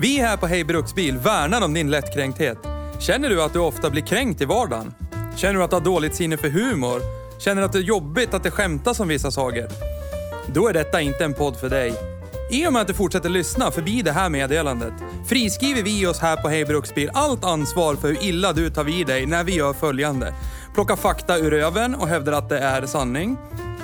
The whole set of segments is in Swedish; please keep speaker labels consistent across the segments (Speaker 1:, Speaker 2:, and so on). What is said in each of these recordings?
Speaker 1: Vi här på Hej Bruksbil värnar om din lättkränkthet. Känner du att du ofta blir kränkt i vardagen? Känner du att du har dåligt sinne för humor? Känner du att det är jobbigt att det skämtas om vissa saker? Då är detta inte en podd för dig. I och med att du fortsätter lyssna förbi det här meddelandet friskriver vi oss här på Hej Bruksbil allt ansvar för hur illa du tar vid dig när vi gör följande. Plocka fakta ur röven och hävdar att det är sanning.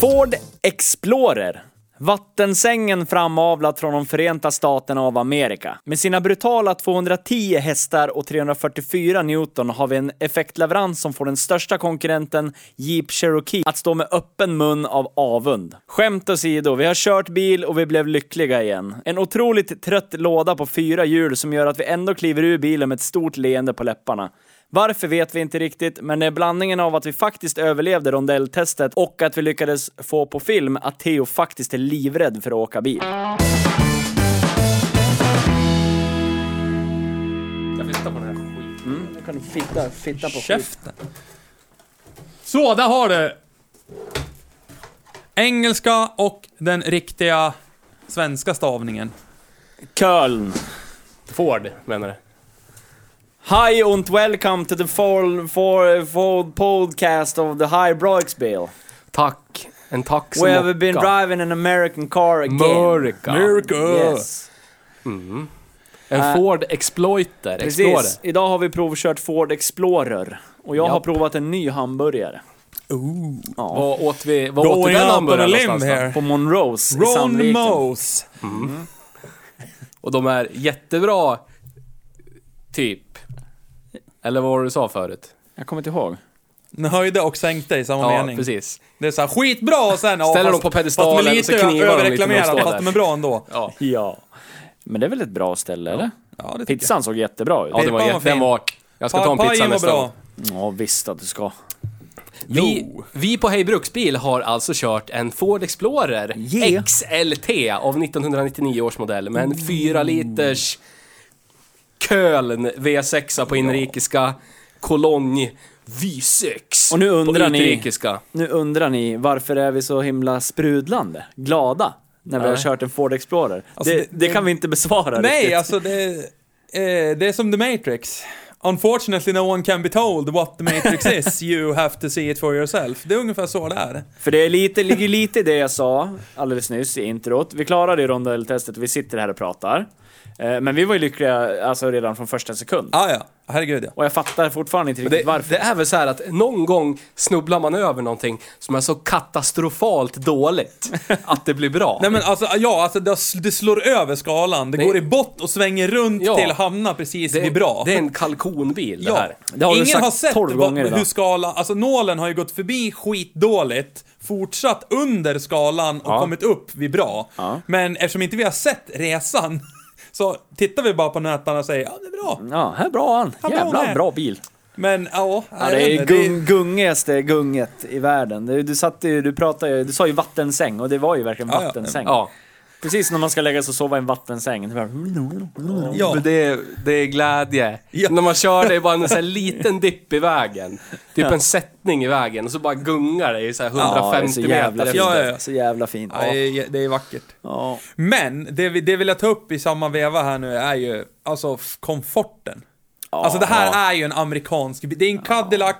Speaker 2: Ford Explorer. Vattensängen framavlad från de förenta staterna av Amerika. Med sina brutala 210 hästar och 344 Newton har vi en effektleverans som får den största konkurrenten Jeep Cherokee att stå med öppen mun av avund. Skämt åsido, vi har kört bil och vi blev lyckliga igen. En otroligt trött låda på fyra hjul som gör att vi ändå kliver ur bilen med ett stort leende på läpparna. Varför vet vi inte riktigt, men det är blandningen av att vi faktiskt överlevde rondelltestet och att vi lyckades få på film att Theo faktiskt är livrädd för att åka bil.
Speaker 3: Jag flyttar på den här skiten.
Speaker 2: Nu kan du fitta, fitta på
Speaker 1: Käften.
Speaker 3: Så, där har du!
Speaker 1: Engelska och den riktiga svenska stavningen.
Speaker 2: Köln.
Speaker 3: Ford, menar du?
Speaker 2: Hi and welcome to the full, for, full podcast of the High Broiksbill.
Speaker 3: Tack. En tack som
Speaker 2: We have been
Speaker 3: lockar.
Speaker 2: driving an American car again.
Speaker 3: America.
Speaker 2: Yes.
Speaker 3: En
Speaker 2: Äh,
Speaker 3: Ford Exploiter. Explorer.
Speaker 2: Precis. Idag har vi provkört Ford Explorer. Och jag har
Speaker 3: Japp.
Speaker 2: provat en ny hamburgare.
Speaker 1: Ooh.
Speaker 2: Ja.
Speaker 3: Vad åt vi? Vad åt vi
Speaker 1: Going
Speaker 3: den
Speaker 1: up on a
Speaker 3: hamburgaren
Speaker 1: limb
Speaker 3: någonstans då?
Speaker 1: here.
Speaker 2: På Monroes i
Speaker 1: Ron
Speaker 2: Sandviken.
Speaker 1: Mose.
Speaker 3: Och de är jättebra, typ. Eller vad var det du sa förut?
Speaker 2: Jag kommer inte ihåg.
Speaker 1: Den höjde och sänkte i samma
Speaker 3: ja,
Speaker 1: mening.
Speaker 3: precis.
Speaker 1: Det är så här skitbra och sen... ja,
Speaker 3: Ställer
Speaker 1: fast-
Speaker 3: dem på pedestalen
Speaker 1: fast med
Speaker 3: och så knivar de lite när de
Speaker 1: överreklamerat,
Speaker 3: står
Speaker 1: fast
Speaker 3: där.
Speaker 1: de är bra ändå.
Speaker 3: Ja,
Speaker 2: Ja. Men det är väl ett bra ställe, eller?
Speaker 1: Ja, det tycker
Speaker 2: Pizzan såg jättebra ut.
Speaker 3: ja det var,
Speaker 1: Pirpan var
Speaker 3: jätte- den
Speaker 1: fin.
Speaker 3: var... Jag ska
Speaker 1: jag.
Speaker 3: ta en pizza
Speaker 1: Pajen var
Speaker 3: nästa gång.
Speaker 1: bra.
Speaker 2: Ja, visst att du ska.
Speaker 3: Vi,
Speaker 1: Jo.
Speaker 3: vi på Hej Bruksbil har alltså kört en Ford Explorer
Speaker 2: Yeah. Mm.
Speaker 3: XLT av 1999 års modell med en 4 liters Köln V6 på inrikiska, kolong V6
Speaker 2: Och nu undrar
Speaker 3: på
Speaker 2: ni-
Speaker 3: utrikiska.
Speaker 2: Nu undrar ni, varför är vi så himla sprudlande, glada, när vi har
Speaker 3: Nej.
Speaker 2: kört en Ford Explorer?
Speaker 1: Alltså,
Speaker 2: det,
Speaker 1: det-
Speaker 2: det kan vi inte besvara
Speaker 1: Nej,
Speaker 2: riktigt.
Speaker 1: alltså det... Eh, det är som The Matrix. Unfortunately no one can be told what the Matrix is, you have to see it for yourself. Det är ungefär så det är.
Speaker 2: För det är lite, ligger lite i det jag sa alldeles nyss i introt. Vi klarade ju rondelltestet och vi sitter här och pratar. Eh, Men vi var ju lyckliga alltså, redan från första sekund.
Speaker 1: Ah, ja, herregud ja.
Speaker 2: Och jag fattar fortfarande inte
Speaker 3: Men
Speaker 2: riktigt
Speaker 3: Det,
Speaker 2: varför.
Speaker 3: det är väl så här att någon gång snubblar man över någonting som är så katastrofalt dåligt att det blir bra.
Speaker 1: Nej men alltså, ja, alltså det, sl- det slår över skalan. Det
Speaker 3: Nej.
Speaker 1: går i bott och svänger runt
Speaker 3: Ja.
Speaker 1: till att hamna precis
Speaker 3: det,
Speaker 1: vid bra.
Speaker 3: det är en kalkonbil det
Speaker 1: ja.
Speaker 3: här.
Speaker 2: Det har du
Speaker 1: Ingen
Speaker 2: sagt
Speaker 1: har sett
Speaker 2: 12
Speaker 1: vad,
Speaker 2: gånger idag.
Speaker 1: hur skala, alltså nålen har ju gått förbi skitdåligt, fortsatt under skalan och
Speaker 2: Ja.
Speaker 1: kommit upp vid bra.
Speaker 2: Ja.
Speaker 1: Men eftersom inte vi har sett resan så tittar vi bara på nätarna och säger ja, det är bra.
Speaker 2: Ja, här är bra han.
Speaker 1: Ja, bra
Speaker 2: Jävla
Speaker 1: med.
Speaker 2: bra bil.
Speaker 1: Men ja,
Speaker 2: Ja,
Speaker 1: jag
Speaker 2: det
Speaker 1: vet
Speaker 2: är
Speaker 1: inte, det är-
Speaker 2: gung, gungigaste gunget i världen. Du, du, satte ju, du, pratade, ju- du sa ju vattensäng och det var ju verkligen
Speaker 1: Ja, ja.
Speaker 2: vattensäng.
Speaker 3: Ja.
Speaker 2: Precis när man ska lägga sig och sova i en vattensäng. Det bara...
Speaker 1: Ja.
Speaker 3: Men det, det är glädje.
Speaker 1: Ja.
Speaker 3: När man kör det är bara en sån här liten dipp i vägen. Typ en sättning i vägen och så bara gungar det i så här 150
Speaker 2: Ja, det är så jävla fint.
Speaker 3: meter. efter.
Speaker 1: Ja, ja, ja.
Speaker 2: Så jävla fint.
Speaker 1: Ja, det är- det är vackert.
Speaker 2: Ja.
Speaker 1: Men det, vi- det vill jag ta upp i samma veva här nu är ju alltså f- komforten.
Speaker 2: Ja,
Speaker 1: alltså det här
Speaker 2: ja.
Speaker 1: är ju en amerikansk bil. Det är en Cadillac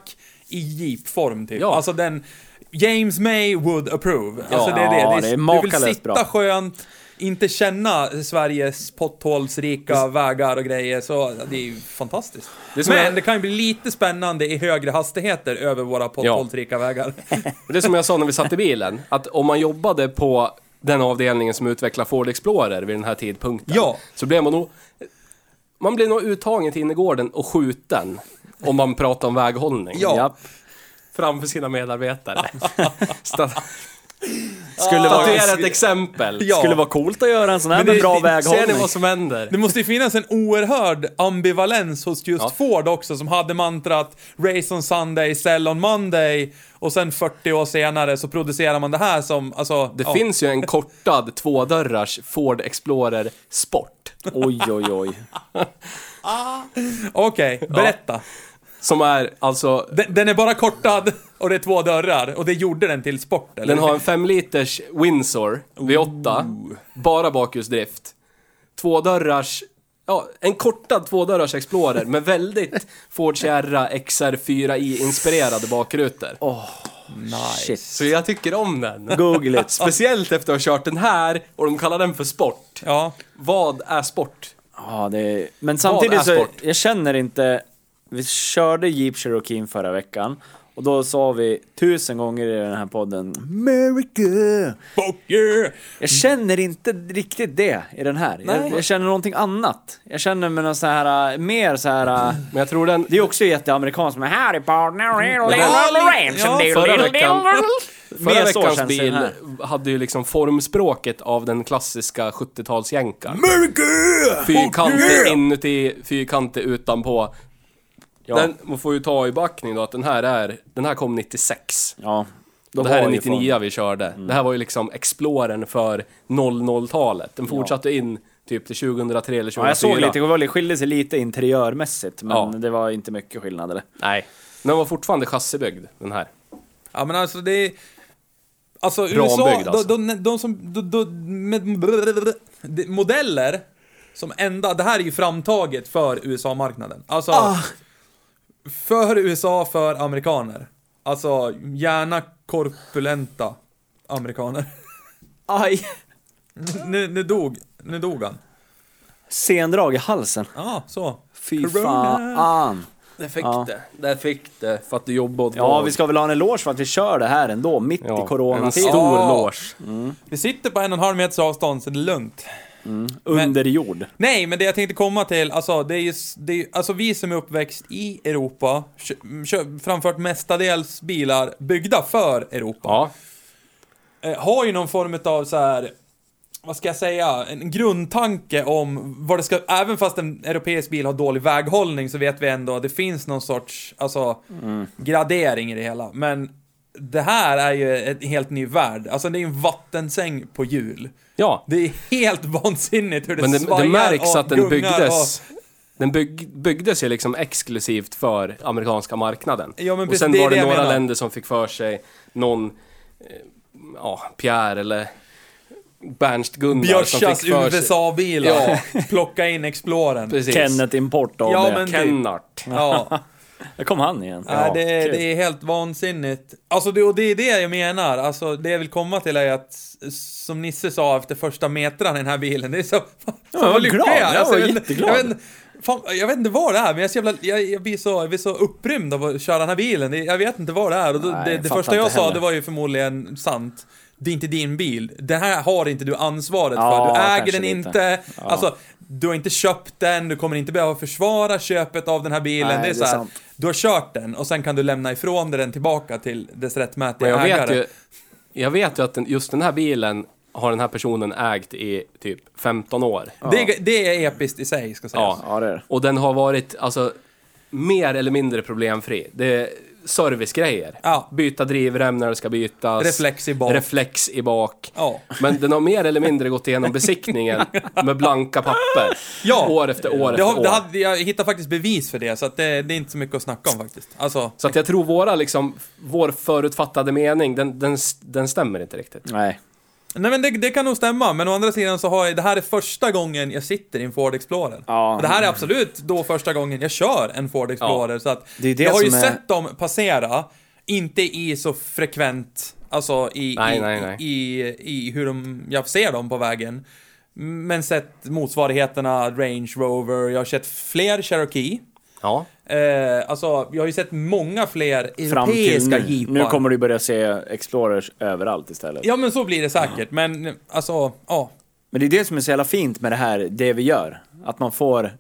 Speaker 1: i Jeep-form typ.
Speaker 3: Ja.
Speaker 1: Alltså den James May would approve. Alltså det är det.
Speaker 2: Ja,
Speaker 1: är-
Speaker 2: det är
Speaker 1: du vill
Speaker 2: makalöst
Speaker 1: sitta
Speaker 2: bra.
Speaker 1: skönt, inte känna Sveriges potthålsrika vägar och grejer. Så det är ju fantastiskt.
Speaker 3: Det är som
Speaker 1: Men
Speaker 3: jag-
Speaker 1: det kan ju bli lite spännande i högre hastigheter över våra potthålsrika vägar.
Speaker 3: Och Det är som jag sa när vi satt i bilen, att om man jobbade på den avdelningen som utvecklar Ford Explorer vid den här tidpunkten,
Speaker 1: Ja.
Speaker 3: så blev man nog... Man blev nog uttagen till innergården och skjuten om man pratar om väghållning
Speaker 1: Ja.
Speaker 2: Japp.
Speaker 3: framför sina medarbetare. Sta-
Speaker 2: Skulle vara,
Speaker 3: Tatuera ett exempel.
Speaker 1: Ja.
Speaker 2: skulle vara coolt att göra en sån här med
Speaker 3: det-
Speaker 2: bra
Speaker 3: Ser ni
Speaker 2: väghållning.
Speaker 3: vad som händer?
Speaker 1: Det måste ju finnas en oerhörd ambivalens hos just
Speaker 3: Ja.
Speaker 1: Ford också som hade mantrat Race on Sunday, Sell on Monday och sen 40 år senare så producerar man det här som, alltså...
Speaker 3: Det finns ju en kortad tvådörrars Ford Explorer Sport.
Speaker 2: Oj, oj, oj.
Speaker 1: Okej, berätta.
Speaker 3: Som är alltså...
Speaker 1: Den, den är bara kortad och det är två dörrar och det gjorde den till sport, eller?
Speaker 3: Den har en 5 liters Windsor V8. Bara bakhjulsdrift. Tvådörrars... Ja, en kortad tvådörrars Explorer med väldigt Ford Sierra XR4i-inspirerade bakrutor.
Speaker 2: Shit.
Speaker 3: Så jag tycker om den.
Speaker 2: Google it.
Speaker 3: Speciellt efter att ha kört den här och de kallar den för sport.
Speaker 1: Ja.
Speaker 3: Vad är sport?
Speaker 2: Ja, det är... Men
Speaker 3: Vad är
Speaker 2: samtidigt så,
Speaker 3: sport?
Speaker 2: jag känner inte... Vi körde Jeep Cherokee förra veckan och då sa vi tusen gånger i den här podden America!
Speaker 1: Fuck you!
Speaker 2: Jag känner inte riktigt det i den här. Jag,
Speaker 1: Nej.
Speaker 2: jag känner någonting annat. Jag känner mig någon så här, äh, mer så här... äh,
Speaker 3: Men jag tror den...
Speaker 2: Det är också jätteamerikanskt, men här är
Speaker 3: Mm.
Speaker 2: partner,
Speaker 1: Ja,
Speaker 3: förra veckan- Förra
Speaker 2: Mer så känns
Speaker 3: veckans
Speaker 2: det
Speaker 3: bil
Speaker 2: här.
Speaker 3: hade ju liksom formspråket av den klassiska 70-talsjänkan.
Speaker 1: America!
Speaker 3: Fyrkantig inuti, fyrkantig utanpå. Den, man får ju ta i backning då att den här är, den här kom 96.
Speaker 2: Ja. de
Speaker 3: det här
Speaker 2: har
Speaker 3: är
Speaker 2: ju form. Mm.
Speaker 3: 99 vi körde. Det här var ju liksom Explorern för 00-talet. Den fortsatte in typ till 2003 eller 2004.
Speaker 2: Ja, jag såg lite, det var- det skilde sig lite interiörmässigt, men
Speaker 3: Ja.
Speaker 2: det var inte mycket skillnad. Eller?
Speaker 3: Nej. Den var fortfarande chassibyggd, den här.
Speaker 1: Ja men alltså det är... Alltså USA,
Speaker 3: Rambyggd, alltså.
Speaker 1: De, de, de som... De, de, med, de, modeller som enda... Det här är ju framtaget för USA-marknaden. Alltså...
Speaker 2: Ah.
Speaker 1: För USA, för amerikaner. Alltså gärna korpulenta amerikaner.
Speaker 2: Aj!
Speaker 1: Nu, nu dog, nu dog han.
Speaker 2: Sendrag i halsen.
Speaker 1: Ja, så.
Speaker 2: Fy
Speaker 1: Corona.
Speaker 2: fan.
Speaker 3: Där fick det. Där fick det. För att du jobbar åt
Speaker 2: Ja, vi ska väl ha en eloge för att vi kör det här ändå, mitt i
Speaker 3: En
Speaker 2: coronatiden.
Speaker 3: stor
Speaker 1: Ja.
Speaker 3: loge.
Speaker 1: Vi sitter på en och en halv meters avstånd så det är lugnt.
Speaker 2: Under jord.
Speaker 1: Nej, men det jag tänkte komma till, alltså, det är ju, s- det är, ju- alltså vi som är uppväxt i Europa, kö, kö, framfört mestadels bilar byggda för Europa,
Speaker 3: Ja.
Speaker 1: eh, har ju någon form av så här, vad ska jag säga, en grundtanke om vad det ska, även fast en europeisk bil har dålig väghållning så vet vi ändå att det finns någon sorts, alltså, gradering i det hela. Men det här är ju en helt ny värld, alltså det är ju en vattensäng på hjul.
Speaker 3: Ja.
Speaker 1: Det är helt vansinnigt hur det
Speaker 3: Men det,
Speaker 1: svajar
Speaker 3: det märks
Speaker 1: och
Speaker 3: att den
Speaker 1: gungar
Speaker 3: byggdes... Den bygg, byggdes ju liksom exklusivt för amerikanska marknaden.
Speaker 1: Ja, men
Speaker 3: och
Speaker 1: precis,
Speaker 3: sen
Speaker 1: det är
Speaker 3: var det,
Speaker 1: det jag
Speaker 3: några
Speaker 1: menar.
Speaker 3: länder som fick för sig någon, eh, ja, Pierre eller Bernst-Gunnar som fick
Speaker 1: Björsas
Speaker 3: för sig...
Speaker 1: USA-bilar. Plocka in Exploren.
Speaker 3: Precis.
Speaker 2: Kennet Import AB.
Speaker 1: Ja, men-
Speaker 3: Kennart.
Speaker 1: Ja,
Speaker 2: Där kom han igen.
Speaker 1: Nej, det, är-
Speaker 2: kul.
Speaker 1: det är helt vansinnigt. Alltså, det, och det är det jag menar. Alltså, det jag vill komma till är att, som Nisse sa efter första metran i den här bilen, det är så... Fan,
Speaker 2: jag var glad. Jag var
Speaker 1: vet-
Speaker 2: jätteglad.
Speaker 1: Jag vet, inte- fan, jag vet inte vad det är, men jag, är så jävla, jag, jag, blir så, jag blir så upprymd av att köra den här bilen. Det, jag vet inte vad det är. Och då,
Speaker 2: Nej,
Speaker 1: det
Speaker 2: jag
Speaker 1: det
Speaker 2: fattar
Speaker 1: första jag
Speaker 2: inte
Speaker 1: sa,
Speaker 2: heller.
Speaker 1: det var ju förmodligen sant. Det är inte din bil. Den här har inte du ansvaret
Speaker 2: Ja,
Speaker 1: för. Du äger
Speaker 2: kanske
Speaker 1: den
Speaker 2: lite.
Speaker 1: inte. Alltså, du har inte köpt den, du kommer inte behöva försvara köpet av den här bilen.
Speaker 2: Nej,
Speaker 1: det är,
Speaker 2: det
Speaker 1: så
Speaker 2: är
Speaker 1: här,
Speaker 2: sant.
Speaker 1: du har kört den och sen kan du lämna ifrån dig den tillbaka till dess rättmätiga
Speaker 3: Men jag
Speaker 1: ägare.
Speaker 3: vet ju, jag vet ju att den, just den här bilen har den här personen ägt i typ 15 år.
Speaker 1: Det, det är episkt i sig, ska sägas.
Speaker 3: Ja.
Speaker 2: Ja, det är det.
Speaker 3: Och den har varit, alltså, mer eller mindre problemfri. Det är servicegrejer.
Speaker 1: Ja.
Speaker 3: Byta drivrem när det ska bytas.
Speaker 1: Reflex i bak.
Speaker 3: Reflex i bak.
Speaker 1: Ja.
Speaker 3: Men den har mer eller mindre gått igenom besiktningen med blanka papper.
Speaker 1: Ja.
Speaker 3: År efter år
Speaker 1: Det
Speaker 3: efter
Speaker 1: har,
Speaker 3: år.
Speaker 1: det hade, jag hittar faktiskt bevis för det, så att det, det är inte så mycket att snacka om faktiskt. Alltså,
Speaker 3: Så att jag tror våra, liksom, vår förutfattade mening, den, den, den stämmer inte riktigt.
Speaker 2: Nej.
Speaker 1: nej men det, det kan nog stämma, men å andra sidan så har jag, det här är första gången jag sitter i en Ford Explorer.
Speaker 2: Ja.
Speaker 1: Och det här är absolut då första gången jag kör en Ford Explorer, så att
Speaker 2: Det är det
Speaker 1: jag har ju
Speaker 2: som är-
Speaker 1: sett dem passera, inte i så frekvent, alltså i,
Speaker 3: Nej,
Speaker 1: i,
Speaker 3: nej, nej.
Speaker 1: i, i hur de, jag ser dem på vägen. Men sett motsvarigheterna Range Rover, jag har sett fler Cherokee.
Speaker 3: Ja.
Speaker 1: Eh, alltså, jag har ju sett många fler
Speaker 2: Fram till
Speaker 1: europeiska
Speaker 2: nu.
Speaker 1: jeepar.
Speaker 2: nu kommer du börja se Explorers överallt istället.
Speaker 1: Ja, men så blir det säkert, men alltså, ja.
Speaker 2: Men det är det som är så jävla fint med det här, det vi gör. Att man får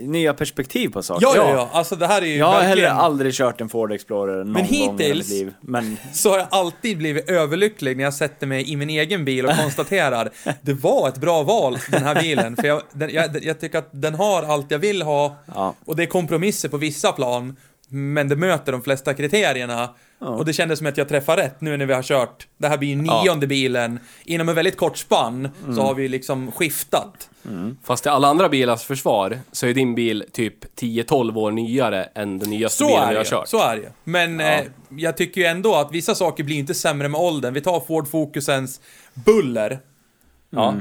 Speaker 2: nya perspektiv på saker.
Speaker 1: Ja, ja, ja. Alltså det här är ju
Speaker 2: Jag har heller
Speaker 1: verkligen...
Speaker 2: aldrig kört en Ford Explorer någon
Speaker 1: Men
Speaker 2: gång i hela mitt
Speaker 1: hittills-
Speaker 2: liv. Men
Speaker 1: så har jag alltid blivit överlycklig när jag sätter mig i min egen bil och konstaterar det var ett bra val, den här bilen. För jag, den, jag, jag tycker att den har allt jag vill ha
Speaker 2: Ja.
Speaker 1: och det är kompromisser på vissa plan, men det möter de flesta kriterierna. Och det kändes som att jag träffade rätt nu när vi har kört. Det här blir ju nionde bilen. Inom en väldigt kort spann så
Speaker 2: Mm.
Speaker 1: har vi liksom skiftat.
Speaker 3: Fast till alla andra bilars försvar så är din bil typ 10-12 år nyare än den nyaste
Speaker 1: Så
Speaker 3: bilen
Speaker 1: är,
Speaker 3: vi har
Speaker 1: det, ju.
Speaker 3: kört.
Speaker 1: så är det ju. Men eh, jag tycker ju ändå att vissa saker blir inte sämre med åldern. Vi tar Ford Focusens buller. Mm.
Speaker 3: Ja.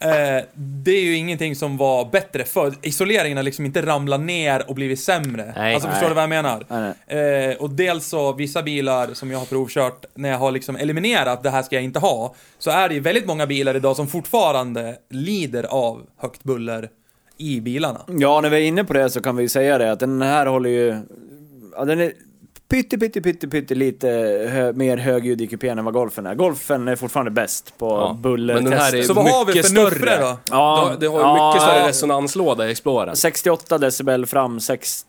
Speaker 1: Eh, det är ju ingenting som var bättre förr. Isoleringen har liksom inte ramlat ner och blivit sämre.
Speaker 3: Nej.
Speaker 1: alltså förstår
Speaker 2: Nej.
Speaker 1: du vad jag menar?
Speaker 2: Nej,
Speaker 1: Eh, och dels så, vissa bilar som jag har provkört, när jag har liksom eliminerat det här ska jag inte ha, så är det ju väldigt många bilar idag som fortfarande lider av högt buller i bilarna.
Speaker 2: ja, när vi är inne på det så kan vi ju säga det att den här håller ju... Ja, den är pytte, pytte, pytte, pytte lite hö, mer högljudd i kupén än vad golfen är. Golfen är fortfarande bäst på
Speaker 3: Ja,
Speaker 2: bullertester.
Speaker 3: men den här är
Speaker 1: Så vad har vi
Speaker 3: mycket
Speaker 1: för nuffre
Speaker 3: större.
Speaker 1: då?
Speaker 2: Ja,
Speaker 3: Ja, det har ju
Speaker 2: ja,
Speaker 3: mycket
Speaker 2: ja.
Speaker 3: större resonanslåda i Explorer.
Speaker 2: 68 decibel fram, 61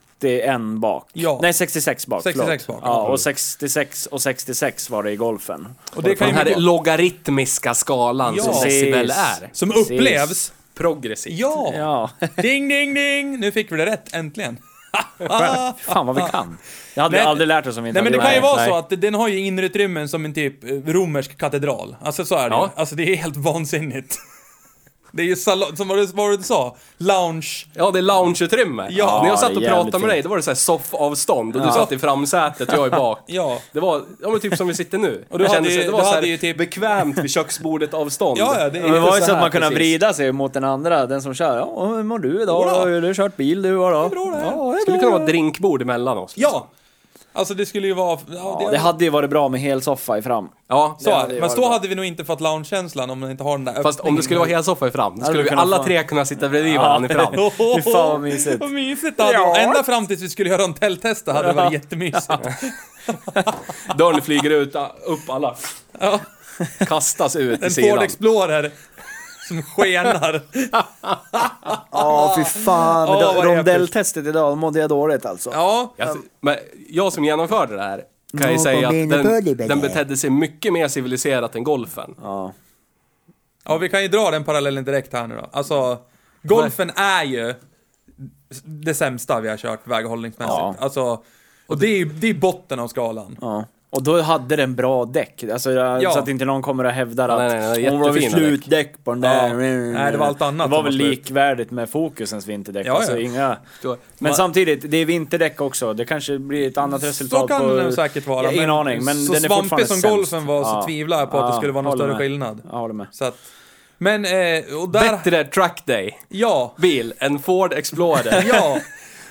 Speaker 2: bak.
Speaker 1: Ja.
Speaker 2: Nej, 66 bak.
Speaker 1: 66
Speaker 2: förlåt.
Speaker 1: bak.
Speaker 2: Ja, och 66 och 66 var det i golfen.
Speaker 1: Och det kan ju
Speaker 3: Den här
Speaker 1: mycket-
Speaker 3: logaritmiska skalan
Speaker 1: Ja.
Speaker 3: som decibel är.
Speaker 1: Som
Speaker 2: Precis.
Speaker 1: upplevs,
Speaker 3: Progressivt.
Speaker 1: ja.
Speaker 2: Ja,
Speaker 1: Ding, ding, ding! Nu fick vi det rätt, äntligen.
Speaker 2: fan vad vi kan. Jag hade
Speaker 1: Nej,
Speaker 2: aldrig lärt oss om vi inte
Speaker 1: Nej men
Speaker 2: hade
Speaker 1: det kan ju
Speaker 2: gjort
Speaker 1: vara
Speaker 2: Nej.
Speaker 1: så att den har ju inre utrymmen som en typ eh, romersk katedral. Alltså så är det
Speaker 3: Ja.
Speaker 1: ju. Alltså det är helt vansinnigt. Det är ju salong, som var det, vad var det du sa? Lounge.
Speaker 3: Ja, det är loungeutrymme.
Speaker 1: Ja,
Speaker 3: När
Speaker 2: det
Speaker 3: jag satt
Speaker 2: är
Speaker 3: och
Speaker 2: jävligt
Speaker 3: pratade med dig,
Speaker 2: fint.
Speaker 3: då var det så här soffavstånd och du satt i framsätet och jag i bak.
Speaker 1: Ja.
Speaker 3: Det var, ja men typ som vi sitter nu.
Speaker 1: du
Speaker 3: Jag
Speaker 1: hade
Speaker 3: kände
Speaker 1: ju-
Speaker 3: så här,
Speaker 1: du
Speaker 3: det var så här
Speaker 1: hade ju typ-
Speaker 3: bekvämt vid köksbordet-avstånd.
Speaker 1: Ja, ja, det är
Speaker 2: Men det var ju
Speaker 3: så
Speaker 2: så att
Speaker 3: här
Speaker 2: man kunde
Speaker 3: precis.
Speaker 2: vrida sig mot den andra, den som kör. Ja, hur mår du idag?
Speaker 1: Jodå.
Speaker 2: Har du kört bil du idag?
Speaker 1: är bra det här.
Speaker 2: Ja, det
Speaker 3: skulle
Speaker 2: är
Speaker 3: kunna
Speaker 2: bra.
Speaker 3: vara ett drinkbord emellan oss. liksom.
Speaker 1: Ja! Alltså det skulle ju vara... Ja,
Speaker 2: Ja, det hade ju varit bra med hel soffa i fram.
Speaker 3: ja
Speaker 1: så
Speaker 3: det-
Speaker 1: är det. Men då hade vi nog inte fått loungekänslan om man inte har den där
Speaker 3: Fast om det skulle vara helsoffa i fram, då skulle
Speaker 2: vi
Speaker 3: vi
Speaker 2: kunnat
Speaker 3: alla
Speaker 2: få-
Speaker 3: tre kunna sitta bredvid varandra i fram.
Speaker 2: Fy fan vad mysigt.
Speaker 1: Vad mysigt det hade
Speaker 2: Ja.
Speaker 1: varit. Ända fram tills vi skulle göra en tälttest det hade det varit jättemysigt.
Speaker 3: Dörren flyger ut, upp alla.
Speaker 1: Ja.
Speaker 3: Kastas ut i
Speaker 1: En Ford
Speaker 3: sidan.
Speaker 1: Explorer som skenar.
Speaker 2: Ja, fy fan.
Speaker 1: Ja,
Speaker 2: Oh,
Speaker 1: vad
Speaker 2: Rondelltestet idag, då mådde jag dåligt alltså.
Speaker 1: Ja.
Speaker 3: Jag, men jag som genomförde det här kan ju
Speaker 4: Någon
Speaker 3: säga att
Speaker 4: menar på det,
Speaker 3: den,
Speaker 4: Belle.
Speaker 3: den betedde sig mycket mer civiliserat än golfen.
Speaker 2: Ja.
Speaker 1: Ja, vi kan ju dra den parallellen direkt här nu då. Alltså, golfen är ju det sämsta vi har kört väghållningsmässigt.
Speaker 2: Ja.
Speaker 1: Alltså, och det är ju det är botten av skalan.
Speaker 2: Ja. Och då hade den bra däck. Alltså, jag-
Speaker 1: Ja,
Speaker 2: så att inte någon kommer och hävdar att
Speaker 3: nej, nej, nej,
Speaker 2: hon var väl
Speaker 3: jättefina
Speaker 2: slutdäck på den där.
Speaker 1: Ja. Nej, det var allt annat
Speaker 2: Det var
Speaker 1: som
Speaker 2: väl
Speaker 1: var slut.
Speaker 2: likvärdigt med fokusens vinterdäck.
Speaker 1: Ja,
Speaker 2: alltså,
Speaker 1: ja.
Speaker 2: Inga...
Speaker 3: Då-
Speaker 2: Men
Speaker 3: man-
Speaker 2: samtidigt, det är vinterdäck också. Det kanske blir ett annat resultat.
Speaker 1: Så kan
Speaker 2: på...
Speaker 1: det säkert vara.
Speaker 2: Ja, ingen
Speaker 1: men
Speaker 2: aning, men
Speaker 1: så
Speaker 2: den är fortfarande
Speaker 1: svampig som
Speaker 2: sämst.
Speaker 1: golfen var så
Speaker 2: Ja.
Speaker 1: tvivlar jag på att det
Speaker 2: Ja,
Speaker 1: skulle vara någon
Speaker 2: håller
Speaker 1: större
Speaker 2: med.
Speaker 1: skillnad.
Speaker 2: Jag håller med.
Speaker 1: Så att, men, eh, och där...
Speaker 3: Bättre track day
Speaker 1: Ja,
Speaker 3: bil än Ford Explorer.
Speaker 1: ja.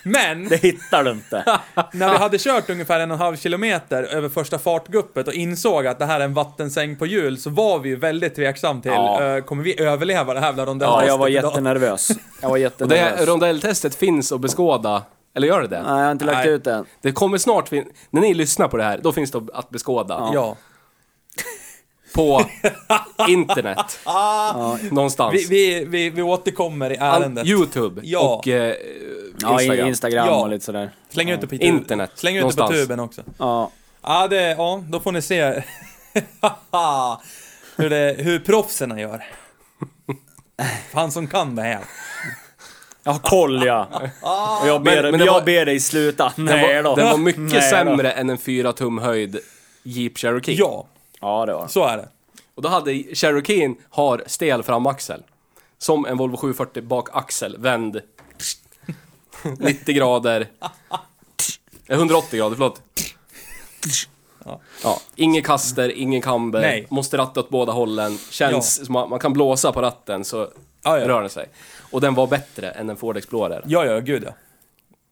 Speaker 1: Men,
Speaker 2: Det hittar du inte.
Speaker 1: när vi hade kört ungefär en och en halv kilometer över första fartguppet och insåg att det här är en vattensäng på hjul så var vi ju väldigt tveksam till,
Speaker 2: Ja.
Speaker 1: eh, kommer vi överleva det här jävla
Speaker 2: Ja, jag
Speaker 1: rondelltestet
Speaker 2: var
Speaker 1: idag?
Speaker 2: jättenervös. Jag var
Speaker 3: Och det
Speaker 2: jättenervös.
Speaker 3: rondelltestet finns att beskåda. Eller gör det det?
Speaker 2: Nej, jag har inte lagt
Speaker 1: Nej.
Speaker 2: ut den.
Speaker 3: Det kommer snart fin- När ni lyssnar på det här, då finns det att beskåda.
Speaker 1: Ja.
Speaker 3: På internet. Någonstans.
Speaker 1: Vi, vi, vi, vi återkommer i
Speaker 3: All-
Speaker 1: ärendet.
Speaker 3: Youtube
Speaker 1: Ja.
Speaker 3: och eh,
Speaker 2: Ja, Instagram,
Speaker 3: Instagram.
Speaker 2: Instagram
Speaker 1: Ja.
Speaker 2: och lite sådär.
Speaker 1: Släng ut det på tu-
Speaker 3: Internet,
Speaker 1: Släng ut det på
Speaker 3: någonstans.
Speaker 1: tuben också.
Speaker 2: Ja.
Speaker 1: Ja, det, ja då får ni se hur, det, hur proffsen gör. Han som kan det här.
Speaker 2: Jag har koll ja. Och jag ber,
Speaker 3: Men- men det
Speaker 2: jag
Speaker 3: var-
Speaker 2: ber dig sluta. Nej
Speaker 3: den,
Speaker 2: då.
Speaker 3: var, den var mycket
Speaker 2: Nej då.
Speaker 3: sämre än en 4 tum höjd Jeep Cherokee.
Speaker 1: Ja,
Speaker 2: Ja, det var den.
Speaker 1: så är det.
Speaker 3: Och då hade Cherokeen har stel framaxel. Som en Volvo 740 bakaxel, vänd 90 grader. Eh, 180 grader, förlåt. Ja, ingen kaster, ingen kamber,
Speaker 1: Nej.
Speaker 3: måste ratta åt båda hållen. Känns som att man kan blåsa på ratten så
Speaker 1: Ja, ja.
Speaker 3: rör den sig. Och den var bättre än en Ford Explorer.
Speaker 1: Ja, ja, gud ja.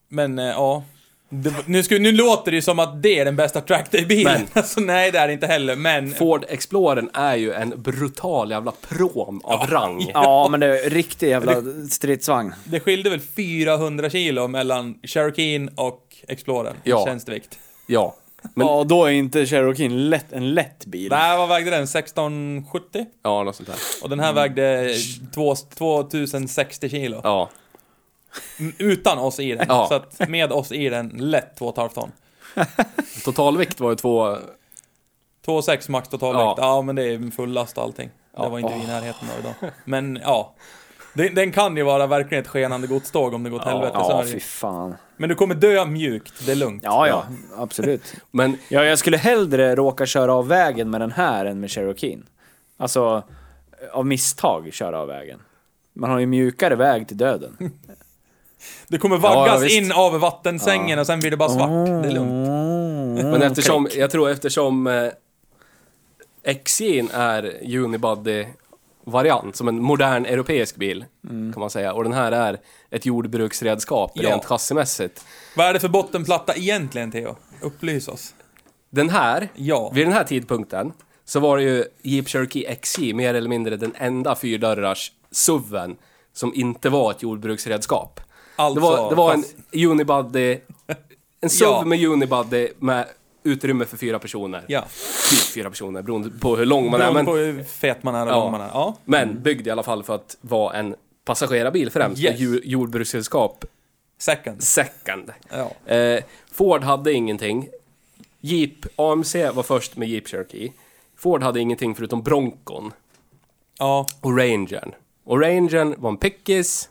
Speaker 1: Men, eh, ja. Det, var- nu, skulle, nu låter det ju som att det är den bästa trackday-bilen. Alltså, nej, det är det inte heller, men...
Speaker 3: Ford Explorern är ju en brutal jävla prom av rang.
Speaker 2: Ja, men det är riktig jävla stridsvagn.
Speaker 1: Det skilde väl 400 kilo mellan Cherokeen och Explorern i
Speaker 3: Ja.
Speaker 1: tjänstevikt.
Speaker 3: Ja. Men,
Speaker 2: Ja, då är inte Cherokeen lätt, en lätt bil.
Speaker 1: Nej, vad vägde den? 1670?
Speaker 3: Mm. ja, något sånt där.
Speaker 1: Och den här vägde två- 2060 kilo.
Speaker 3: Ja.
Speaker 1: m- utan oss i den.
Speaker 3: Ja.
Speaker 1: Så att med oss i den, lätt 2,5 ton.
Speaker 3: Totalvikt var ju två...
Speaker 1: 2,6 max totalvikt.
Speaker 3: Ja.
Speaker 1: Ja. men det är full last och allting. Det var inte vi i närheten av idag. Men ja. Den, den kan ju vara verkligen ett skenande godståg om det går åt helvete. så
Speaker 2: Ja,
Speaker 1: är det
Speaker 2: fy
Speaker 1: ju.
Speaker 2: fan.
Speaker 1: Men du kommer dö mjukt, det är lugnt.
Speaker 2: Ja, ja, absolut.
Speaker 3: Men
Speaker 2: Ja, jag skulle hellre råka köra av vägen med den här än med Cherokeen. Alltså, av misstag köra av vägen. Man har ju mjukare väg till döden.
Speaker 1: Du kommer
Speaker 3: Ja, ja,
Speaker 1: vaggas
Speaker 3: visst.
Speaker 1: in av vattensängen och sen blir det bara svart. Det är lugnt. Ah,
Speaker 3: Men eftersom, jag tror eftersom eh, XJ'n är unibody-variant, som en modern europeisk bil, kan man säga. Och den här är ett jordbruksredskap,
Speaker 1: Mm. Ja.
Speaker 3: rent chassimässigt.
Speaker 1: Vad är det för bottenplatta egentligen, Theo? Upplys oss.
Speaker 3: Den här,
Speaker 1: Ja.
Speaker 3: vid den här tidpunkten, så var det ju Jeep Cherokee XJ mer eller mindre den enda fyrdörrars SUVen som inte var ett jordbruksredskap.
Speaker 1: Alltså,
Speaker 3: det var, det var en
Speaker 1: fast-
Speaker 3: unibody, en SUV
Speaker 1: Ja.
Speaker 3: med unibody med utrymme för fyra personer.
Speaker 1: Ja.
Speaker 3: typ fyra personer beroende på hur lång man är.
Speaker 1: Beroende
Speaker 3: Men,
Speaker 1: på hur fet man är och
Speaker 3: Ja.
Speaker 1: lång man är. Ja.
Speaker 3: men byggd i alla fall för att vara en passagerarbil främst.
Speaker 1: Yes.
Speaker 3: Yes. Jordbrukssällskap
Speaker 1: Second.
Speaker 3: second.
Speaker 1: Ja.
Speaker 3: Eh, Ford hade ingenting. Jeep, AMC var först med Jeep Cherokee. Ford hade ingenting förutom Broncon
Speaker 1: Ja.
Speaker 3: och Rangern. Och Rangern var en pickis.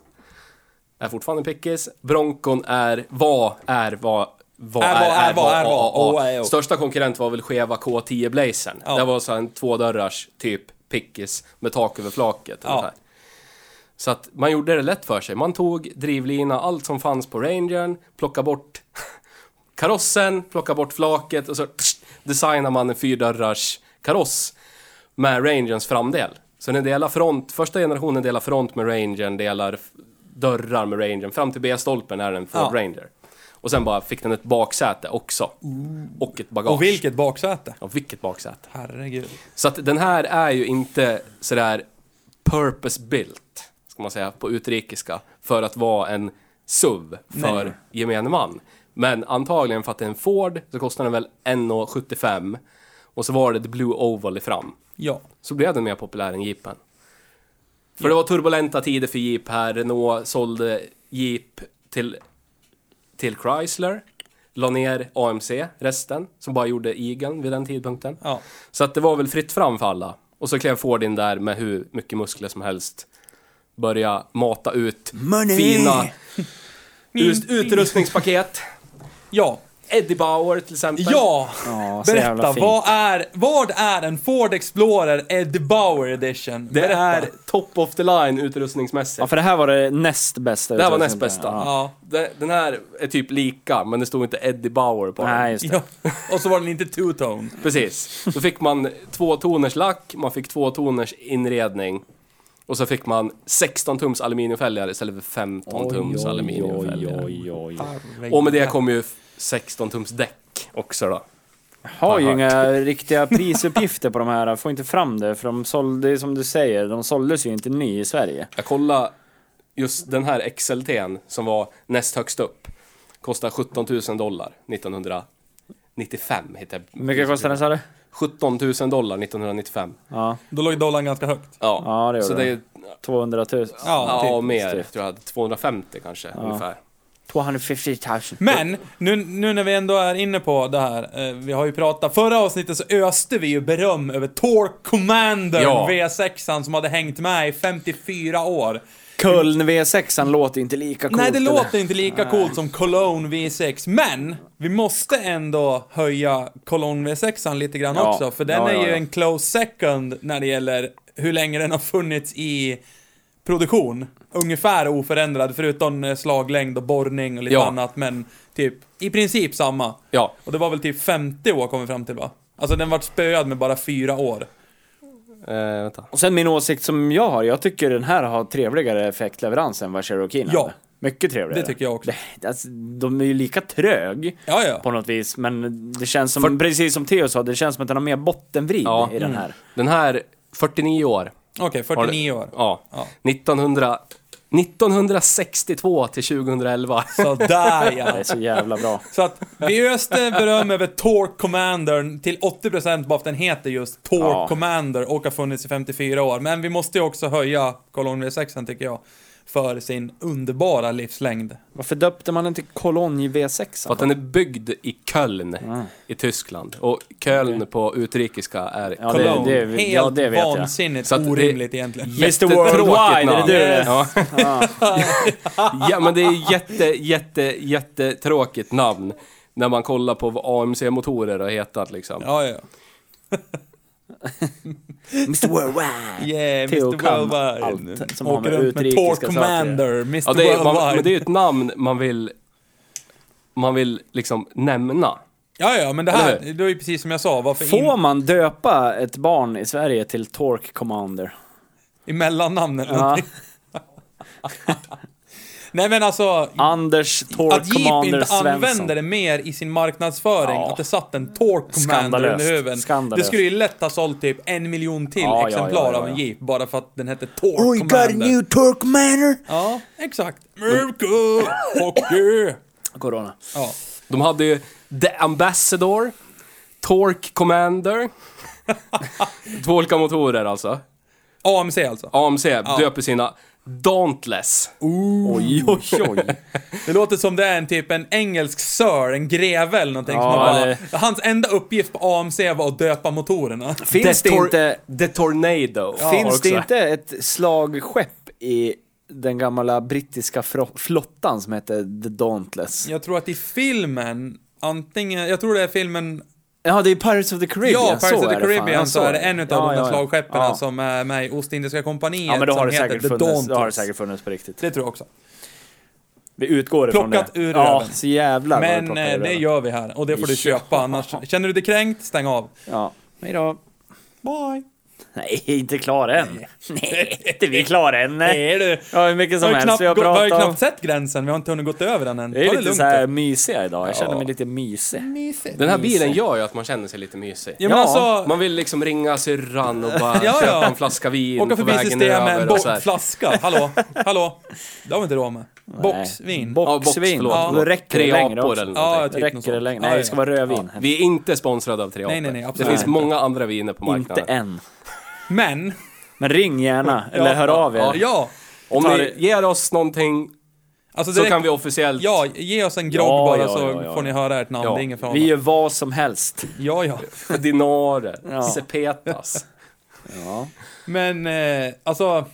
Speaker 3: Är fortfarande en pickis. Broncon är, var, är, var, var,
Speaker 1: Är, var, är, var, är, var.
Speaker 3: a, a, a.
Speaker 1: Oh, är, oh.
Speaker 3: Största konkurrent var väl Cheva K10 Blazern.
Speaker 1: Ja.
Speaker 3: Det var så här en tvådörrars typ pickis med tak över flaket.
Speaker 1: Ja.
Speaker 3: ungefär. Så att man gjorde det lätt för sig. Man tog drivlina, allt som fanns på Rangern, plockade bort karossen, plockade bort flaket och så pssst, designade man en fyrdörrars kaross med Rangerns framdel. Så den delar front, första generationen delar front med Rangern, delar f- dörrar med Rangern. Fram till B-stolpen är den Ford
Speaker 1: Ja.
Speaker 3: Ranger. Och sen bara fick den ett baksäte också. Och ett bagage.
Speaker 1: Och vilket baksäte.
Speaker 3: Ja, vilket baksäte.
Speaker 1: Herregud.
Speaker 3: Så att den här är ju inte sådär purpose built, ska man säga, på utrikiska, för att vara en SUV för
Speaker 1: Nej.
Speaker 3: gemene man. Men antagligen för att det är en Ford så kostar den väl 1,75 och så var det The Blue Oval i fram.
Speaker 1: Ja.
Speaker 3: Så blev den mer populär än Jeepen. För det var turbulenta tider för Jeep här. Renault sålde Jeep till, till Chrysler. La ner AMC, resten, som bara gjorde Eagan vid den tidpunkten.
Speaker 1: Ja.
Speaker 3: Så att det var väl fritt fram för alla. Och så klev Ford in där med hur mycket muskler som helst. Börja mata ut
Speaker 2: Money!
Speaker 3: fina ut, utrustningspaket.
Speaker 1: Ja.
Speaker 3: Eddie Bauer till exempel.
Speaker 1: Ja,
Speaker 2: Ja, så jävla
Speaker 1: berätta.
Speaker 2: fint.
Speaker 1: Vad är, vad är en Ford Explorer Eddie Bauer Edition?
Speaker 3: Det
Speaker 1: Berätta.
Speaker 3: är top of the line utrustningsmässigt.
Speaker 2: Ja, för det här var det näst bästa.
Speaker 3: Det här var näst
Speaker 2: utrustningen.
Speaker 3: bästa.
Speaker 2: Ja.
Speaker 1: Ja.
Speaker 3: Det- Den här är typ lika, men det stod inte Eddie Bauer på
Speaker 2: Nej,
Speaker 3: den.
Speaker 2: just det.
Speaker 1: Ja. Och så var den inte two-tone.
Speaker 3: Precis. Då fick man två toners lack, man fick två toners inredning. Och så fick man 16 tums aluminiumfälgar istället för 15 tums aluminiumfälgar.
Speaker 2: oj, oj.
Speaker 3: Och med det kom ju 16 tums däck också då.
Speaker 2: Har ju inga riktiga prisuppgifter på de här, får inte fram det. För de sålde, som du säger, de såldes ju inte ny i Sverige.
Speaker 3: Jag kollade just den här XLT'n som var näst högst upp. Kostade 17 000 dollar 1995 hittade
Speaker 2: Hur
Speaker 3: jag.
Speaker 2: mycket kostade den sa du?
Speaker 3: 17 000 dollar 1995.
Speaker 2: Ja,
Speaker 1: Då låg dollarn ganska högt.
Speaker 3: Ja,
Speaker 2: Ja, det gjorde
Speaker 3: så det är
Speaker 2: 200
Speaker 1: Ja,
Speaker 2: 000.
Speaker 3: Ja,
Speaker 1: typ.
Speaker 3: mer.
Speaker 2: Stift.
Speaker 3: Tror jag hade 250 kanske, ungefär.
Speaker 2: 250 000.
Speaker 1: Men, nu, nu när vi ändå är inne på det här, eh, vi har ju pratat, förra avsnittet så öste vi ju beröm över Torque Commander
Speaker 3: Ja.
Speaker 1: V6an som hade hängt med i 54 år.
Speaker 2: Köln V6 låter inte lika coolt.
Speaker 1: Nej, det
Speaker 2: eller?
Speaker 1: låter inte lika coolt som Cologne V6, men vi måste ändå höja Cologne V6an lite grann
Speaker 2: Ja.
Speaker 1: också, för den
Speaker 2: Ja,
Speaker 1: är
Speaker 2: ja,
Speaker 1: ju
Speaker 2: ja.
Speaker 1: en close second när det gäller hur länge den har funnits i produktion. Ungefär oförändrad, förutom eh, slaglängd och borrning och lite
Speaker 3: Ja.
Speaker 1: annat, men typ i princip samma.
Speaker 3: Ja,
Speaker 1: Och det var väl typ 50 år kom vi fram till va? Alltså den vart spöad med bara fyra år.
Speaker 3: eh, vänta.
Speaker 2: Och sen min åsikt som jag har, jag tycker den här har trevligare effektleverans än vad Cherokeen
Speaker 1: Ja.
Speaker 2: hade. Mycket trevligare.
Speaker 1: Det tycker jag också.
Speaker 2: Det, alltså, de är ju lika trög
Speaker 1: Ja, ja.
Speaker 2: på något vis, men det känns som, precis som Theo sa, det känns som att den har mer bottenvrid
Speaker 3: Ja.
Speaker 2: i den
Speaker 1: Mm.
Speaker 2: här.
Speaker 3: Den här, 49 år.
Speaker 1: Okej,
Speaker 3: har
Speaker 1: 49
Speaker 3: det-
Speaker 1: år.
Speaker 3: Ja.
Speaker 1: Ja.
Speaker 3: 1900, 1962 till 2011.
Speaker 1: Sådär
Speaker 2: Det
Speaker 1: ja.
Speaker 2: är så jävla bra.
Speaker 1: Så att vi öste beröm över Torque Commander till 80% bara för att den heter just Torque
Speaker 2: Ja.
Speaker 1: Commander och har funnits i 54 år. Men vi måste ju också höja Cologne V6 tycker jag. för sin underbara livslängd.
Speaker 2: Varför döpte man den till Cologne V6?
Speaker 3: För att den är byggd i Köln
Speaker 2: Mm.
Speaker 3: i Tyskland. Och Köln på utrikiska är
Speaker 2: Ja, det-
Speaker 3: Cologne.
Speaker 1: Cologne.
Speaker 2: det-
Speaker 1: Helt
Speaker 2: ja, det vet jag.
Speaker 1: vansinnigt
Speaker 3: Så att det-
Speaker 1: orimligt egentligen.
Speaker 2: Mr
Speaker 3: Jättetråkigt
Speaker 2: Worldwide, är
Speaker 3: namn.
Speaker 2: det du?
Speaker 1: Yes.
Speaker 3: Ja. ja, men det är jätte, jätte, jättetråkigt namn. När man kollar på vad AMC-motorer har hetat liksom.
Speaker 1: Ja, ja.
Speaker 2: Mr Worldwide!
Speaker 1: Yeah, Mr.
Speaker 2: Theo kan
Speaker 1: Worldwide.
Speaker 2: allt som har
Speaker 1: Åker
Speaker 2: med
Speaker 1: runt med
Speaker 2: utrikes
Speaker 1: Tor
Speaker 2: saker.
Speaker 1: Commander, Mr.
Speaker 3: Ja, det är, man, men
Speaker 1: Worldwide.
Speaker 3: det är ju ett namn man vill... Man vill liksom nämna.
Speaker 1: Ja, ja, men det
Speaker 3: Eller
Speaker 1: här, det är ju precis som jag sa, varför
Speaker 2: Får
Speaker 1: in,
Speaker 2: man döpa ett barn i Sverige till Torque Commander?
Speaker 1: i mellannamn eller
Speaker 2: Ja.
Speaker 1: någonting? Nej men alltså,
Speaker 2: Anders Torque
Speaker 1: att Jeep
Speaker 2: Commander
Speaker 1: inte
Speaker 2: Svensson.
Speaker 1: använder det mer i sin marknadsföring,
Speaker 2: Ja.
Speaker 1: att det satt en Torque Commander
Speaker 2: Skandalöst.
Speaker 1: under huven.
Speaker 2: Skandalöst.
Speaker 1: Det skulle ju lätt ha sålt typ en miljon till
Speaker 2: Ja, ja,
Speaker 1: exemplar
Speaker 2: ja, ja,
Speaker 1: av en
Speaker 2: ja.
Speaker 1: Jeep, bara för att den hette Torque Commander.
Speaker 2: Torque Commander!
Speaker 1: Ja, exakt. Mirko! Fuck you!
Speaker 2: Corona.
Speaker 1: Ja.
Speaker 3: De hade ju The Ambassador, Torque Commander. Två olika motorer alltså.
Speaker 1: AMC alltså.
Speaker 3: AMC döper sina Dauntless.
Speaker 2: Oj, oj, oj.
Speaker 1: Det låter som det är en typ en engelsk sir, en greve eller någonting.
Speaker 2: Ja,
Speaker 1: som har bara,
Speaker 2: det-
Speaker 1: Hans enda uppgift på AMC var att döpa motorerna.
Speaker 2: Finns det
Speaker 3: The Tor-
Speaker 2: inte...
Speaker 3: The Tornado.
Speaker 2: Finns det
Speaker 3: också.
Speaker 2: inte ett slagskepp i den gamla brittiska fro- flottan som hette The Dauntless?
Speaker 1: Jag tror att i filmen, antingen, jag tror det är filmen
Speaker 2: Ja, det är Pirates of the Caribbean.
Speaker 1: Ja, Pirates
Speaker 2: så
Speaker 1: of the
Speaker 2: är det fan.
Speaker 1: Caribbean så är det en av de där slagskeppen
Speaker 2: ja.
Speaker 1: som är med i Ostindiska kompaniet
Speaker 2: Ja, men då har,
Speaker 1: som
Speaker 2: det
Speaker 1: heter
Speaker 2: säkert
Speaker 1: The
Speaker 2: funnits, då har det
Speaker 1: Dauntless.
Speaker 2: säkert funnits på riktigt.
Speaker 1: Det tror jag också.
Speaker 2: Vi utgår ifrån det.
Speaker 1: Plockat ur
Speaker 2: Ja,
Speaker 1: röven.
Speaker 2: så jävlar vad vi
Speaker 1: Men
Speaker 2: plockar
Speaker 1: eh,
Speaker 2: ur
Speaker 1: det
Speaker 2: röven.
Speaker 1: gör vi här och det får du
Speaker 2: Ja.
Speaker 1: köpa annars. Känner du dig kränkt? Stäng av.
Speaker 2: Ja. Hej då.
Speaker 1: Bye!
Speaker 2: Nej, inte klar än. Nej, inte vi klara än. Nej.
Speaker 1: Är du?
Speaker 2: Ja, hur mycket
Speaker 1: Vi
Speaker 2: som
Speaker 1: har ju
Speaker 2: helst
Speaker 1: knappt,
Speaker 2: vi har
Speaker 1: gå- vi har ju
Speaker 2: pratat om.
Speaker 1: knappt sett gränsen, vi har inte hunnit gått över den än. Ta
Speaker 2: Det är lite
Speaker 1: lugnt
Speaker 2: så här mysiga idag. Jag
Speaker 1: Ja.
Speaker 2: känner mig lite mysig.
Speaker 1: Mysigt.
Speaker 3: Den här bilen gör ju att man känner sig lite mysig.
Speaker 1: Ja, men
Speaker 2: Ja.
Speaker 1: alltså,
Speaker 3: Man vill liksom ringa syrran och bara
Speaker 1: Ja,
Speaker 3: köpa
Speaker 1: ja.
Speaker 3: en flaska vin
Speaker 1: åka
Speaker 3: på
Speaker 1: förbi
Speaker 3: vägen
Speaker 1: systemet med en
Speaker 3: över. Och så
Speaker 1: bo-
Speaker 3: här.
Speaker 1: flaska. Hallå, hallå. Det har vi inte råd med. Boxvin.
Speaker 3: Ja, box,
Speaker 2: Boxvin.
Speaker 3: förlåt.
Speaker 2: Då räcker det
Speaker 3: Tre
Speaker 2: längre
Speaker 3: apor
Speaker 2: också.
Speaker 3: eller
Speaker 1: Ja,
Speaker 3: någonting.
Speaker 1: jag tycker något
Speaker 2: Räcker det
Speaker 1: sånt.
Speaker 2: längre?
Speaker 1: Ja,
Speaker 2: Nej, det ska
Speaker 1: ja.
Speaker 2: vara rödvin.
Speaker 3: Vi är inte sponsrade av Tre
Speaker 1: Nej, nej, nej,
Speaker 3: Apor. Det
Speaker 1: absolut
Speaker 3: finns
Speaker 1: inte.
Speaker 3: många andra viner på
Speaker 2: Inte
Speaker 3: marknaden.
Speaker 2: än.
Speaker 1: Men,
Speaker 2: Men ring gärna, eller hör av er.
Speaker 1: ja.
Speaker 3: Om
Speaker 2: Tar-
Speaker 3: ni ger oss någonting
Speaker 1: Alltså
Speaker 3: så
Speaker 1: direkt-
Speaker 3: kan vi officiellt...
Speaker 1: Ja, ge oss en grogg
Speaker 2: Ja,
Speaker 1: bara
Speaker 2: ja,
Speaker 1: så
Speaker 2: ja, ja,
Speaker 1: får ni
Speaker 2: ja.
Speaker 1: höra ert namn.
Speaker 3: Ja.
Speaker 1: Det är ingen fara.
Speaker 2: Vi gör vad som helst.
Speaker 1: Ja, ja.
Speaker 3: Dinare,
Speaker 2: Ja.
Speaker 3: Sepetas.
Speaker 2: Ja.
Speaker 1: Men, eh, alltså.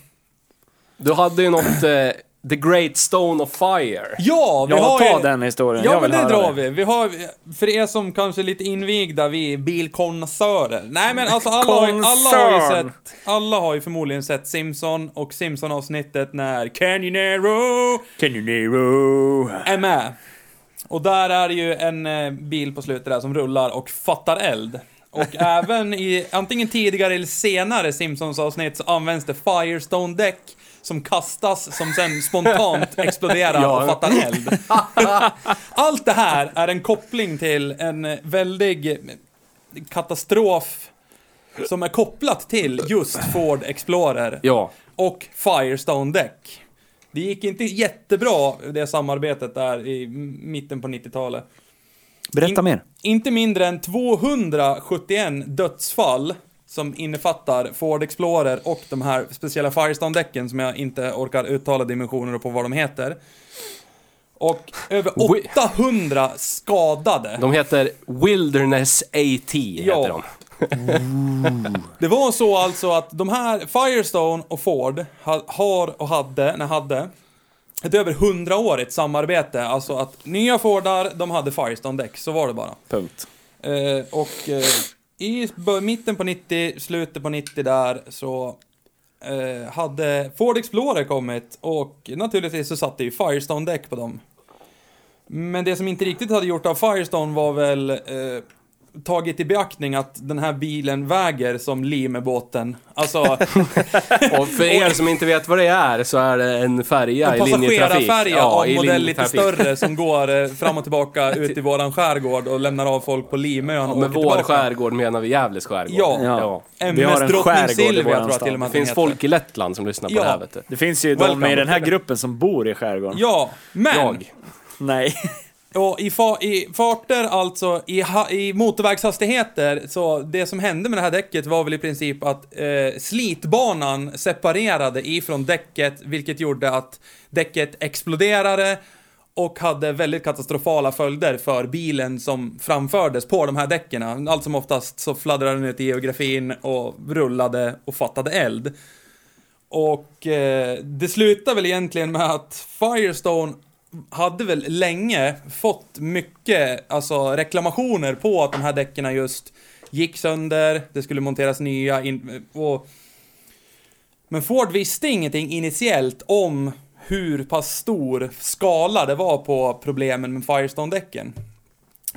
Speaker 3: Du hade ju något eh, The Great Stone of Fire.
Speaker 1: Ja, vi
Speaker 2: Jag
Speaker 1: har
Speaker 2: tar
Speaker 1: ju...
Speaker 2: den historien.
Speaker 1: Ja,
Speaker 2: jag
Speaker 1: men
Speaker 2: vill
Speaker 1: det
Speaker 2: höra
Speaker 1: drar vi. Vi har, för er som kanske är lite invigda, vi är bilkonnässörer. Nej men alltså alla har, ju- alla har ju
Speaker 2: Koncern.
Speaker 1: sett, alla har ju förmodligen sett Simpson och Simpson-avsnittet när Canyonero
Speaker 2: Can you Nero?
Speaker 1: är med. Och där är det ju en eh, bil på slutet där som rullar och fattar eld. Och även i antingen tidigare eller senare Simpsons avsnitt så används det Firestone däck som kastas som sen spontant exploderar och fattar eld. Allt det här är en koppling till en eh, väldig eh, katastrof som är kopplat till just Ford Explorer
Speaker 3: Ja.
Speaker 1: och Firestone däck. Det gick inte jättebra, det samarbetet där i m- mitten på 90-talet.
Speaker 2: Berätta
Speaker 1: In-
Speaker 2: mer.
Speaker 1: Inte mindre än 271 dödsfall som innefattar Ford Explorer och de här speciella Firestone-däcken som jag inte orkar uttala dimensioner på vad de heter. Och över
Speaker 3: Oj.
Speaker 1: 800 skadade.
Speaker 3: De heter Wilderness AT,
Speaker 1: Ja.
Speaker 3: heter de.
Speaker 1: Det var så alltså att de här, Firestone och Ford, ha- har och hade, när hade, ett över hundraårigt samarbete. Alltså att nya Fordar, de hade Firestone-däck, så var det bara.
Speaker 2: Punkt.
Speaker 1: Eh, och eh, i bö- mitten på 90, slutet på 90 där, så eh, hade Ford Explorer kommit och naturligtvis så satt det ju Firestone-däck på dem. Men det som inte riktigt hade gjort av Firestone var väl eh, tagit i beaktning att den här bilen väger som Limebåten. Alltså,
Speaker 3: Och för er som inte vet vad det är så är det en
Speaker 1: en
Speaker 3: färja i linjetrafik.
Speaker 1: passagerarfärja av
Speaker 3: i
Speaker 1: modell lite
Speaker 3: linjetrafik.
Speaker 1: större som går eh, fram och tillbaka ut i våran skärgård och lämnar av folk på Limön
Speaker 3: Ja,
Speaker 1: och
Speaker 3: med
Speaker 1: åker
Speaker 3: vår
Speaker 1: tillbaka.
Speaker 3: skärgård menar vi Gävles skärgård.
Speaker 1: Ja.
Speaker 2: Vi har
Speaker 1: MS
Speaker 2: en
Speaker 1: Drottning
Speaker 2: skärgård i
Speaker 1: Silvia
Speaker 2: våran
Speaker 1: tror jag
Speaker 2: stad.
Speaker 1: till och med att
Speaker 3: Det
Speaker 1: den
Speaker 3: finns
Speaker 1: heter.
Speaker 3: folk i Lettland som lyssnar på
Speaker 1: Ja.
Speaker 3: det här vet du.
Speaker 2: Det finns ju
Speaker 1: Welcome.
Speaker 2: de i den här gruppen som bor i skärgården.
Speaker 1: Ja, men
Speaker 3: Jag.
Speaker 2: Nej.
Speaker 1: Och i, fa i farter, alltså i, ha- i motorvägshastigheter, så det som hände med det här däcket var väl i princip att eh, slitbanan separerade ifrån däcket, vilket gjorde att däcket exploderade och hade väldigt katastrofala följder för bilen som framfördes på de här däcken. Allt som oftast så fladdrade den ut i geografin och rullade och fattade eld. Och eh, det slutar väl egentligen med att Firestone hade väl länge fått mycket alltså, reklamationer på att de här däcken just gick sönder, det skulle monteras nya in, och... Men Ford visste ingenting initiellt om hur pass stor skala det var på problemen med Firestone-däcken.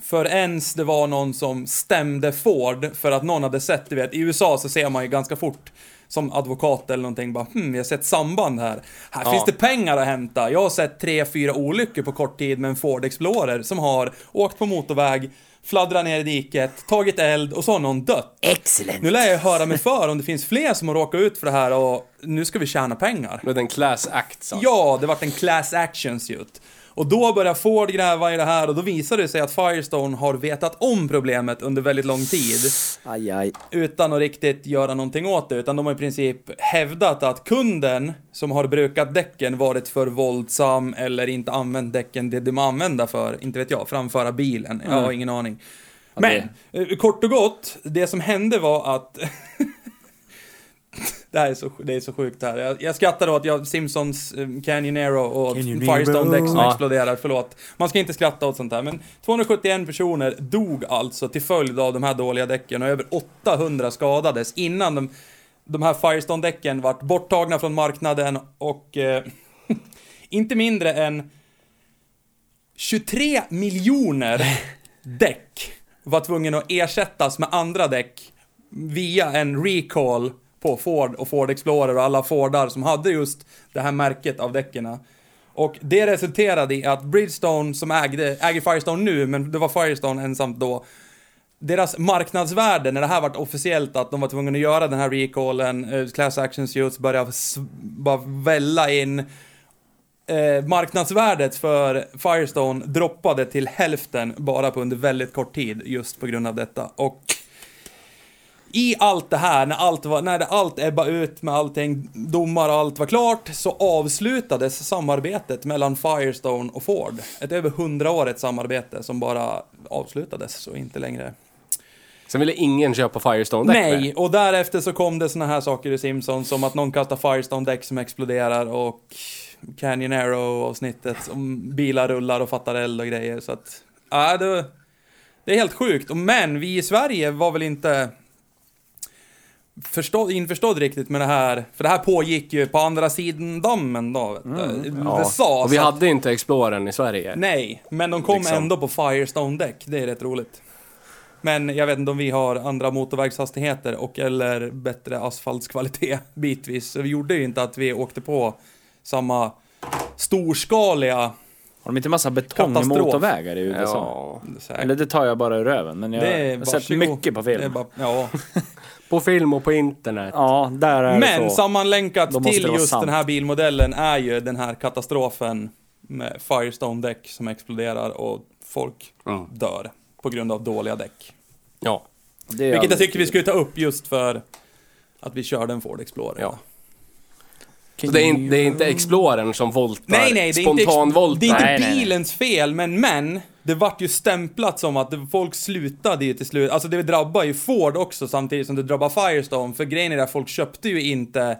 Speaker 1: Förrän det var någon som stämde Ford för att någon hade sett, du vet, i USA så ser man ju ganska fort som advokat eller någonting bara hmm, vi har sett samband här. Här
Speaker 2: Ja.
Speaker 1: finns det pengar att hämta. Jag har sett tre, fyra olyckor på kort tid med en Ford Explorer som har åkt på motorväg, fladdrat ner i diket, tagit eld och så har någon dött.
Speaker 2: Excellent!
Speaker 1: Nu lär jag höra mig för om det finns fler som har råkat ut för det här och nu ska vi tjäna pengar.
Speaker 3: Med en class act sa han.
Speaker 1: Ja, det vart en class action suit. Och då börjar Ford gräva i det här och då visar det sig att Firestone har vetat om problemet under väldigt lång tid
Speaker 2: Aj, aj.
Speaker 1: utan att riktigt göra någonting åt det. Utan de har i princip hävdat att kunden som har brukat däcken varit för våldsam eller inte använt däcken det de använder för, inte vet jag, framföra bilen. Jag har ingen aning. Men, eh, kort och gott, det som hände var att... det här är så, det är så sjukt det här. Jag, jag skrattar åt jag, Simpsons eh, Canyonero och
Speaker 2: Canyonero.
Speaker 1: Firestone-däck som
Speaker 2: Ja.
Speaker 1: exploderar, förlåt. Man ska inte skratta åt sånt här, men 271 personer dog alltså till följd av de här dåliga däcken och över 800 skadades innan de, de här Firestone-däcken vart borttagna från marknaden och eh, inte mindre än 23 miljoner däck var tvungen att ersättas med andra däck via en recall på Ford och Ford Explorer och alla Fordar som hade just det här märket av däcken. Och det resulterade i att Bridgestone, som ägde, äger Firestone nu, men det var Firestone ensamt då, deras marknadsvärde när det här vart officiellt att de var tvungna att göra den här recallen, eh, class action suits började s- bara välla in. Eh, marknadsvärdet för Firestone droppade till hälften bara på under väldigt kort tid just på grund av detta. Och i allt det här, när allt, var, när det allt ebbade ut med allting, domar och allt var klart, så avslutades samarbetet mellan Firestone och Ford. Ett över hundraårigt samarbete som bara avslutades och inte längre
Speaker 3: Sen ville ingen köpa Firestone-däck
Speaker 1: Nej,
Speaker 3: med.
Speaker 1: och därefter så kom det såna här saker i Simpsons som att någon kastar Firestone-däck som exploderar och Canyon Arrow-avsnittet som bilar rullar och fattar eld och grejer. Så att, ja, det, det är helt sjukt. Och Men vi i Sverige var väl inte förstå, införstådd riktigt med det här. För det här pågick ju på andra sidan dammen då. Vet du.
Speaker 3: Mm. Ja.
Speaker 1: Det sas
Speaker 3: Och vi
Speaker 1: att-
Speaker 3: hade inte Explorern i Sverige.
Speaker 1: Nej, men de kom
Speaker 3: Liksom.
Speaker 1: ändå på Firestone-däck. Det är rätt roligt. Men jag vet inte om vi har andra motorvägshastigheter och eller bättre asfaltskvalitet bitvis. Så vi gjorde ju inte att vi åkte på samma storskaliga...
Speaker 2: Har de inte massa betongmotorvägar i USA?
Speaker 3: Ja.
Speaker 2: Eller det tar jag bara ur röven, men jag, jag har sett
Speaker 1: varsågod.
Speaker 2: mycket på
Speaker 1: Det är
Speaker 2: film.
Speaker 1: bara, ja.
Speaker 3: På film och på internet.
Speaker 2: Ja, där är det
Speaker 1: Men
Speaker 2: så.
Speaker 1: sammanlänkat
Speaker 2: Då måste
Speaker 1: till
Speaker 2: det vara
Speaker 1: just
Speaker 2: sant.
Speaker 1: den här bilmodellen är ju den här katastrofen med Firestone-däck som exploderar och folk
Speaker 3: Mm.
Speaker 1: dör på grund av dåliga däck.
Speaker 3: Ja.
Speaker 2: Det är
Speaker 1: Vilket jag
Speaker 2: alldeles
Speaker 1: tycker vi skulle ta upp just för att vi körde en Ford Explorer.
Speaker 3: Ja.
Speaker 2: kul.
Speaker 3: Så det är, in, det är inte Explorern som voltar.
Speaker 1: Nej, nej, det är inte,
Speaker 3: Spontanvoltar.
Speaker 1: det är inte
Speaker 2: Nej, nej, nej.
Speaker 1: bilens fel, men, men det vart ju stämplat som att det- folk slutade ju till slut. Alltså det drabbar ju Ford också samtidigt som det drabbar Firestone. För grejen är att folk köpte ju inte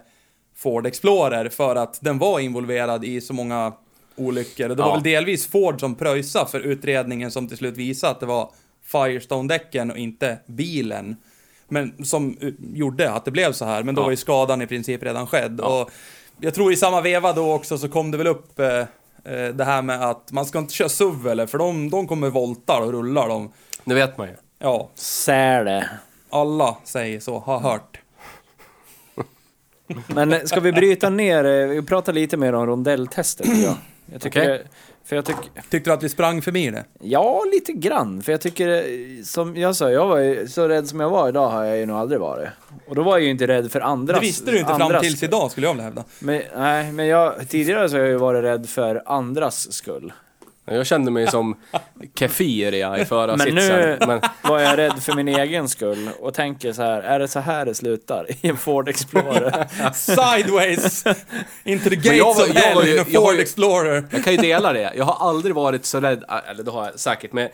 Speaker 1: Ford Explorer för att den var involverad i så många olyckor. Och det var
Speaker 3: Ja.
Speaker 1: väl delvis Ford som pröjsade för utredningen som till slut visade att det var Firestone-däcken och inte bilen. Men som eh, gjorde att det blev så här. Men då
Speaker 3: Ja.
Speaker 1: var ju skadan i princip redan skedd.
Speaker 3: Ja.
Speaker 1: Och jag tror i samma veva då också så kom det väl upp eh, eh, det här med att man ska inte köra SUV eller för de, de kommer voltar och rullar dem.
Speaker 3: Det vet man ju.
Speaker 1: Ja,
Speaker 2: Säle.
Speaker 1: alla säger så, har hört.
Speaker 2: Men ska vi bryta ner, eh, vi pratar lite mer om rondelltestet tycker jag. Jag tycker
Speaker 3: Okej.
Speaker 2: det, för jag tycker,
Speaker 1: Tyckte du att vi sprang förbi det?
Speaker 2: ja lite grann, för jag tycker, eh, som jag sa, jag var ju, så rädd som jag var idag har jag ju nog aldrig varit. Och då var jag ju inte rädd för andras.
Speaker 1: Det visste du inte fram
Speaker 2: andras
Speaker 1: tills
Speaker 2: skull.
Speaker 1: idag skulle jag vilja hävda.
Speaker 2: Men, nej, men jag, tidigare så har jag ju varit rädd för andras skull.
Speaker 3: Jag kände mig som Kefiria i
Speaker 2: Men
Speaker 3: förarsitsen.
Speaker 2: nu
Speaker 3: Men
Speaker 2: var jag rädd för min egen skull och tänker så här, är det så här det slutar i en Ford Explorer?
Speaker 1: Sideways! Into the gates
Speaker 3: jag var-
Speaker 1: of
Speaker 3: jag var
Speaker 1: hell
Speaker 3: ju-
Speaker 1: in a
Speaker 3: jag var
Speaker 1: Ford
Speaker 3: ju-
Speaker 1: Explorer.
Speaker 3: jag kan ju dela det. Jag har aldrig varit så rädd, ah, eller det har jag säkert, men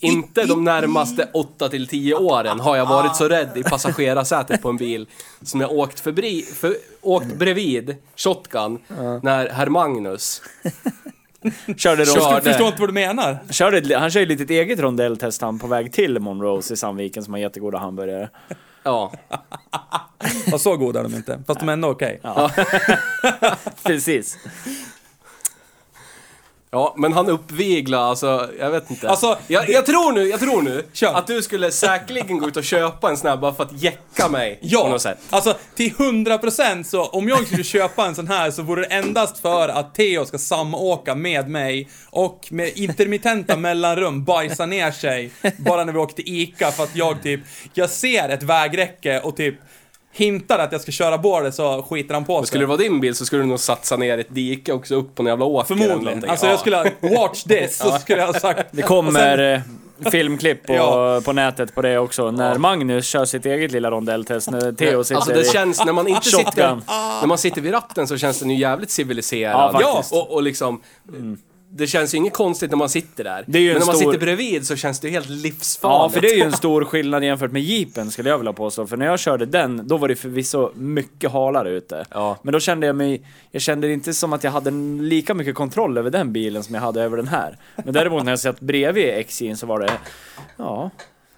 Speaker 3: inte de närmaste 8 till 10 åren har jag varit så rädd i passagerarsätet på en bil som jag åkt förbi, för, åkt bredvid Shotgun när herr Magnus
Speaker 2: Körde då,
Speaker 3: Kör.
Speaker 1: Jag förstår inte vad du menar.
Speaker 2: körde, ett- han körde ett litet eget rondelltest han på väg till Monrose i Sandviken som har jättegoda hamburgare.
Speaker 3: Ja,
Speaker 1: Ja, så goda är de inte. Fast de är ändå okej.
Speaker 2: Precis.
Speaker 3: ja men han uppvigla, alltså, jag vet inte.
Speaker 1: Alltså,
Speaker 3: jag, jag tror nu, jag tror nu
Speaker 1: Kör.
Speaker 3: att du skulle säkerligen gå ut och köpa en snabb bara för att jäcka mig på
Speaker 1: Ja,
Speaker 3: något sätt.
Speaker 1: alltså till 100% så om jag skulle köpa en sån här så vore det endast för att Theo ska samåka med mig och med intermittenta mellanrum bajsa ner sig bara när vi åker till ICA för att jag typ, jag ser ett vägräcke och typ hintar att jag ska köra på det så skiter han på sig.
Speaker 3: Skulle det vara din bil så skulle du nog satsa ner ett dike också upp på en jävla åker eller
Speaker 1: Förmodligen.
Speaker 3: någonting.
Speaker 1: Alltså
Speaker 3: Ja.
Speaker 1: jag skulle ha, watch this, så skulle jag ha sagt.
Speaker 2: Det kommer eh, filmklipp på,
Speaker 1: Ja.
Speaker 2: på nätet på det också, när Magnus kör sitt eget lilla rondelltest, när Theo sitter
Speaker 3: Alltså det
Speaker 2: i...
Speaker 3: känns, när man inte
Speaker 2: Shotgun.
Speaker 3: sitter, när man sitter vid ratten så känns den ju jävligt civiliserad.
Speaker 2: Ja, faktiskt.
Speaker 3: och, och liksom,
Speaker 1: Mm.
Speaker 3: det känns ju inget konstigt när man sitter där.
Speaker 2: Det är ju en
Speaker 3: Men när man
Speaker 2: stor-
Speaker 3: sitter bredvid så känns det ju helt livsfarligt.
Speaker 2: Ja, för det är ju en stor skillnad jämfört med jeepen skulle jag vilja påstå. För när jag körde den, då var det förvisso mycket halare ute.
Speaker 3: Ja.
Speaker 2: Men då kände jag mig, jag kände det inte som att jag hade en- lika mycket kontroll över den bilen som jag hade över den här. Men däremot när jag satt bredvid XJ'n så var det, ja,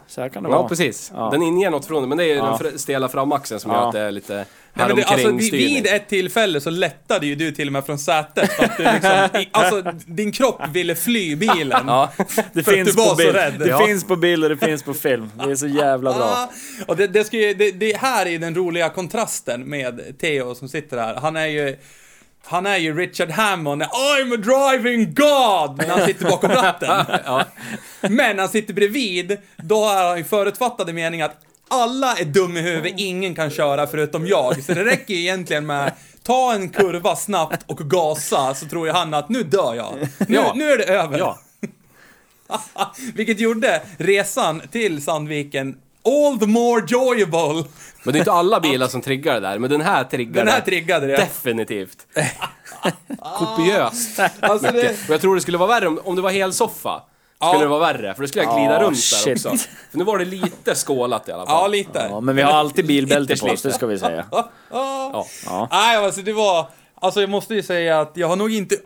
Speaker 2: så här kan det
Speaker 3: Ja,
Speaker 2: vara.
Speaker 3: precis.
Speaker 2: Ja.
Speaker 3: Den inger något från det, men det är ju
Speaker 2: Ja.
Speaker 3: den fr- stela framaxeln som
Speaker 2: Ja.
Speaker 3: gör att det är lite
Speaker 1: Nej, men det, alltså, vid,
Speaker 3: häromkring-styrning.
Speaker 1: vid ett tillfälle så lättade ju du till och med från sätet. för Att du liksom, i, alltså, din kropp ville fly bilen.
Speaker 3: Ja.
Speaker 2: Det
Speaker 1: För att du
Speaker 2: finns
Speaker 1: var
Speaker 2: på
Speaker 1: så
Speaker 2: bild.
Speaker 1: rädd.
Speaker 2: Det
Speaker 1: Ja.
Speaker 2: finns på bild och det finns på film. Det är så jävla bra.
Speaker 1: Ah, och det, det, ska ju, det, det här är ju den roliga kontrasten med Theo som sitter här. Han är ju... Han är ju Richard Hammond, I'm a driving God! Men han sitter bakom ratten. Men han sitter bredvid, då har han ju förutfattade mening att alla är dum i huvudet, ingen kan köra förutom jag. Så det räcker ju egentligen med ta en kurva snabbt och gasa, så tror ju han att nu dör jag. Nu,
Speaker 3: Ja.
Speaker 1: nu är det över.
Speaker 3: Ja.
Speaker 1: Vilket gjorde resan till Sandviken all the more joyable.
Speaker 3: Men det är inte alla bilar som triggar det där, men den här triggar
Speaker 1: Den här
Speaker 3: det
Speaker 1: triggade det.
Speaker 3: definitivt. Kopiöst.
Speaker 1: Alltså det,
Speaker 3: Och jag tror det skulle vara värre om, om det var hel soffa. Skulle
Speaker 1: Ja.
Speaker 3: det vara värre, för då skulle jag glida
Speaker 2: Ja,
Speaker 3: runt där
Speaker 2: shit.
Speaker 3: också. För nu var det lite skålat i alla fall.
Speaker 1: ja, lite.
Speaker 2: Ja, men vi har alltid bilbälte på
Speaker 3: Ytterst
Speaker 2: oss,
Speaker 3: lite.
Speaker 2: det ska vi säga.
Speaker 1: Ja.
Speaker 2: Ja.
Speaker 1: Nej, alltså det var... Alltså jag måste ju säga att jag har nog inte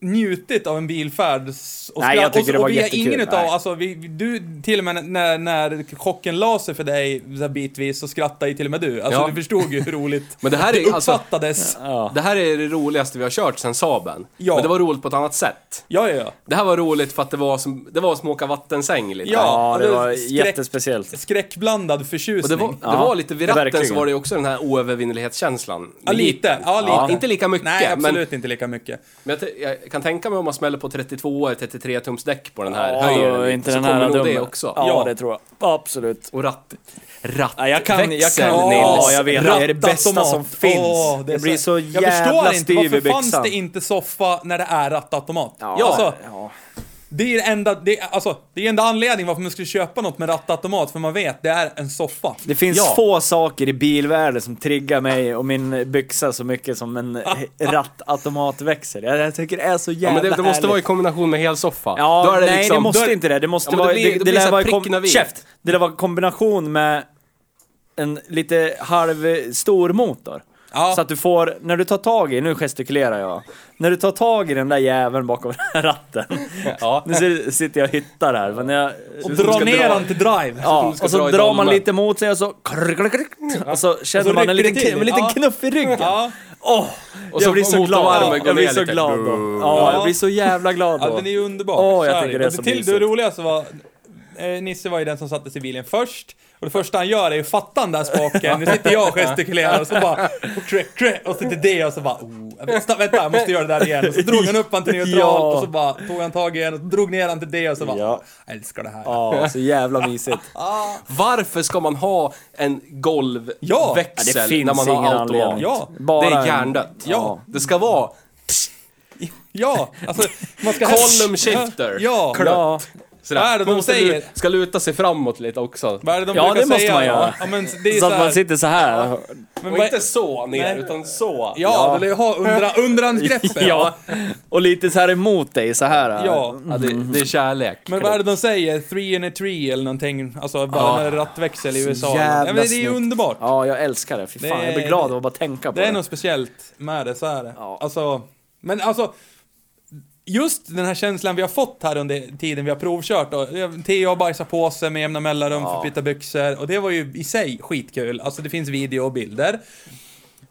Speaker 1: njutit av en bilfärd. s- Och
Speaker 2: Nej, jag tycker
Speaker 1: och,
Speaker 2: det var
Speaker 1: och vi har
Speaker 2: jättekul.
Speaker 1: Ingen utav,
Speaker 2: Nej.
Speaker 1: alltså, vi, vi- du, till och med när, när chocken la sig för dig så här bitvis så skrattade ju till och med du. Alltså
Speaker 3: Ja.
Speaker 1: du förstod ju hur roligt
Speaker 3: Men det här
Speaker 1: det
Speaker 3: är alltså,
Speaker 1: uppfattades.
Speaker 2: Ja.
Speaker 3: det här är det roligaste vi har kört sen Saben.
Speaker 1: Ja.
Speaker 3: Men det var roligt på ett annat sätt.
Speaker 1: Ja, ja, ja.
Speaker 3: Det här var roligt för att det var som, det var som att åka vattensäng lite.
Speaker 2: Ja, det
Speaker 1: eller
Speaker 2: var
Speaker 1: skräck-
Speaker 2: jättespeciellt.
Speaker 1: Skräckblandad förtjusning.
Speaker 3: Och det var, det
Speaker 2: Ja,
Speaker 3: var lite vid ratten så
Speaker 2: verkligen.
Speaker 3: var det också den här oövervinnelighetskänslan.
Speaker 1: Ja, lite. Ja, lite.
Speaker 3: Ja, inte lika mycket,
Speaker 1: Nej,
Speaker 3: men-
Speaker 1: absolut inte lika mycket.
Speaker 3: Men jag, t- jag kan tänka mig om man smäller på 32 eller 33 tums däck på den här
Speaker 2: Ja,
Speaker 3: höjden.
Speaker 2: då är
Speaker 3: lite,
Speaker 2: inte
Speaker 3: så
Speaker 2: den
Speaker 3: liksom. kommer
Speaker 2: här
Speaker 3: nog det
Speaker 2: dummen.
Speaker 3: också.
Speaker 2: Ja, det tror jag. Absolut.
Speaker 3: Och ratt...
Speaker 2: Ja,
Speaker 3: Rattväxel,
Speaker 2: jag kan, jag kan,
Speaker 3: Nils.
Speaker 2: ja, jag vet. Det är det bästa
Speaker 1: Rattautomat.
Speaker 2: som finns.
Speaker 1: Åh,
Speaker 2: det
Speaker 1: är
Speaker 2: blir så
Speaker 1: jag
Speaker 2: jävla
Speaker 1: förstår inte,
Speaker 2: styv i
Speaker 1: varför fanns
Speaker 2: byxan.
Speaker 1: det inte soffa när det är rattautomat?
Speaker 2: Ja,
Speaker 1: Alltså,
Speaker 2: ja.
Speaker 1: det är enda, det är, alltså, det är enda anledningen varför man skulle köpa något med rattautomat, för man vet, det är en soffa.
Speaker 2: Det finns
Speaker 3: Ja.
Speaker 2: få saker i bilvärlden som triggar mig och min byxa så mycket som en rattautomatväxel. Jag, jag tycker det är så
Speaker 3: Ja,
Speaker 2: jävla
Speaker 3: men det, det måste
Speaker 2: härligt.
Speaker 3: vara i kombination med hel soffa.
Speaker 2: Ja,
Speaker 3: Då är det
Speaker 2: nej
Speaker 3: liksom-
Speaker 2: det måste
Speaker 3: då är-
Speaker 2: inte det. Det måste
Speaker 3: Ja, men
Speaker 2: vara...
Speaker 3: det blir-
Speaker 2: det,
Speaker 3: det
Speaker 2: det
Speaker 3: blir
Speaker 2: lär
Speaker 3: så här
Speaker 2: vara i
Speaker 3: pricken
Speaker 2: kom,
Speaker 3: över i.
Speaker 2: käft! Det lär vara i kombination med en lite halv stor motor.
Speaker 1: Ja.
Speaker 2: Så att du får, när du tar tag i, nu gestikulerar jag, när du tar tag i den där jäveln bakom ratten.
Speaker 3: Ja.
Speaker 2: Nu ser- sitter jag och hyttar här, men jag...
Speaker 1: Och
Speaker 2: du
Speaker 1: dra
Speaker 2: ska
Speaker 1: ner
Speaker 2: dra-
Speaker 1: den till drive.
Speaker 2: Ja,
Speaker 3: ska
Speaker 2: och så
Speaker 3: dra i
Speaker 2: drar man
Speaker 3: dolmen.
Speaker 2: lite mot sig och så... krr, krr, krr, Och så känner
Speaker 1: Och så
Speaker 2: man en
Speaker 1: rycker det
Speaker 2: liten,
Speaker 1: till.
Speaker 2: en liten
Speaker 1: Ja.
Speaker 2: knuff i ryggen.
Speaker 1: Ja.
Speaker 2: Åh,
Speaker 3: Och så
Speaker 2: jag blir så
Speaker 3: motorvarmen
Speaker 2: glad.
Speaker 3: går
Speaker 2: Jag blir
Speaker 3: ner
Speaker 2: så
Speaker 3: lite.
Speaker 2: glad då. Ja, jag blir så jävla glad
Speaker 1: Ja,
Speaker 2: då.
Speaker 1: den är ju underbar.
Speaker 2: Åh, jag
Speaker 1: Så är
Speaker 2: tycker det är
Speaker 1: Och
Speaker 2: så
Speaker 1: till det
Speaker 2: mysigt.
Speaker 1: roligaste var, eh, Nisse var ju den som satte sig i bilen först. Och det första han gör är ju fatta den där spaken. Nu sitter jag och gestikulerar och så bara... Tre, tre, och så sitter det och så bara... Oh, vänta, vänta, jag måste göra det där igen. Och så drog han upp han till neutral
Speaker 2: Ja.
Speaker 1: och så bara tog han tag i den och så drog ner han till det och så bara...
Speaker 2: Ja.
Speaker 1: Jag älskar det här.
Speaker 2: Ja, så jävla mysigt.
Speaker 3: Varför ska man ha en golvväxel
Speaker 1: Ja.
Speaker 2: Ja, det finns
Speaker 3: när man
Speaker 2: ingen
Speaker 3: har automat?
Speaker 2: anledning.
Speaker 1: Ja.
Speaker 2: Bara
Speaker 3: det är
Speaker 2: en-
Speaker 3: hjärndött.
Speaker 2: Ja.
Speaker 3: Det ska vara...
Speaker 1: Ja, alltså man ska...
Speaker 3: Column shifter.
Speaker 1: Ja.
Speaker 2: Ja,
Speaker 3: Sådär.
Speaker 1: Vad är det de
Speaker 3: Man måste
Speaker 1: säger?
Speaker 3: lu- Ska luta sig framåt lite också.
Speaker 1: Vad är det de
Speaker 2: Ja,
Speaker 1: brukar
Speaker 2: det måste
Speaker 1: säga?
Speaker 2: man göra.
Speaker 1: Ja, men det är
Speaker 2: så
Speaker 1: så
Speaker 2: att
Speaker 1: här,
Speaker 2: man sitter så här.
Speaker 1: men
Speaker 3: Och
Speaker 1: vad-
Speaker 3: inte så ner,
Speaker 1: Nej.
Speaker 3: utan så.
Speaker 1: Ja, eller ha undra, undrandgreppet.
Speaker 2: Ja, och lite så här emot dig så här.
Speaker 1: ja.
Speaker 3: Ja, det, det är kärlek.
Speaker 1: Men vad är det de säger? Three in a tree eller någonting. Alltså bara en rattväxel i USA.
Speaker 2: jävla
Speaker 1: ja, men det är ju
Speaker 2: snyggt.
Speaker 1: underbart.
Speaker 2: Ja, jag älskar det. Fy
Speaker 1: Det
Speaker 2: fan, jag blir
Speaker 1: är-
Speaker 2: glad av att bara tänka på
Speaker 1: Det
Speaker 2: det.
Speaker 1: är något speciellt med det, så är det.
Speaker 2: Ja.
Speaker 1: Alltså, men alltså, just den här känslan vi har fått här under tiden vi har provkört. Och Theo har bajsat på sig med jämna mellanrum
Speaker 2: Ja.
Speaker 1: för att byta byxor. Och det var ju i sig skitkul. Alltså det finns video och bilder.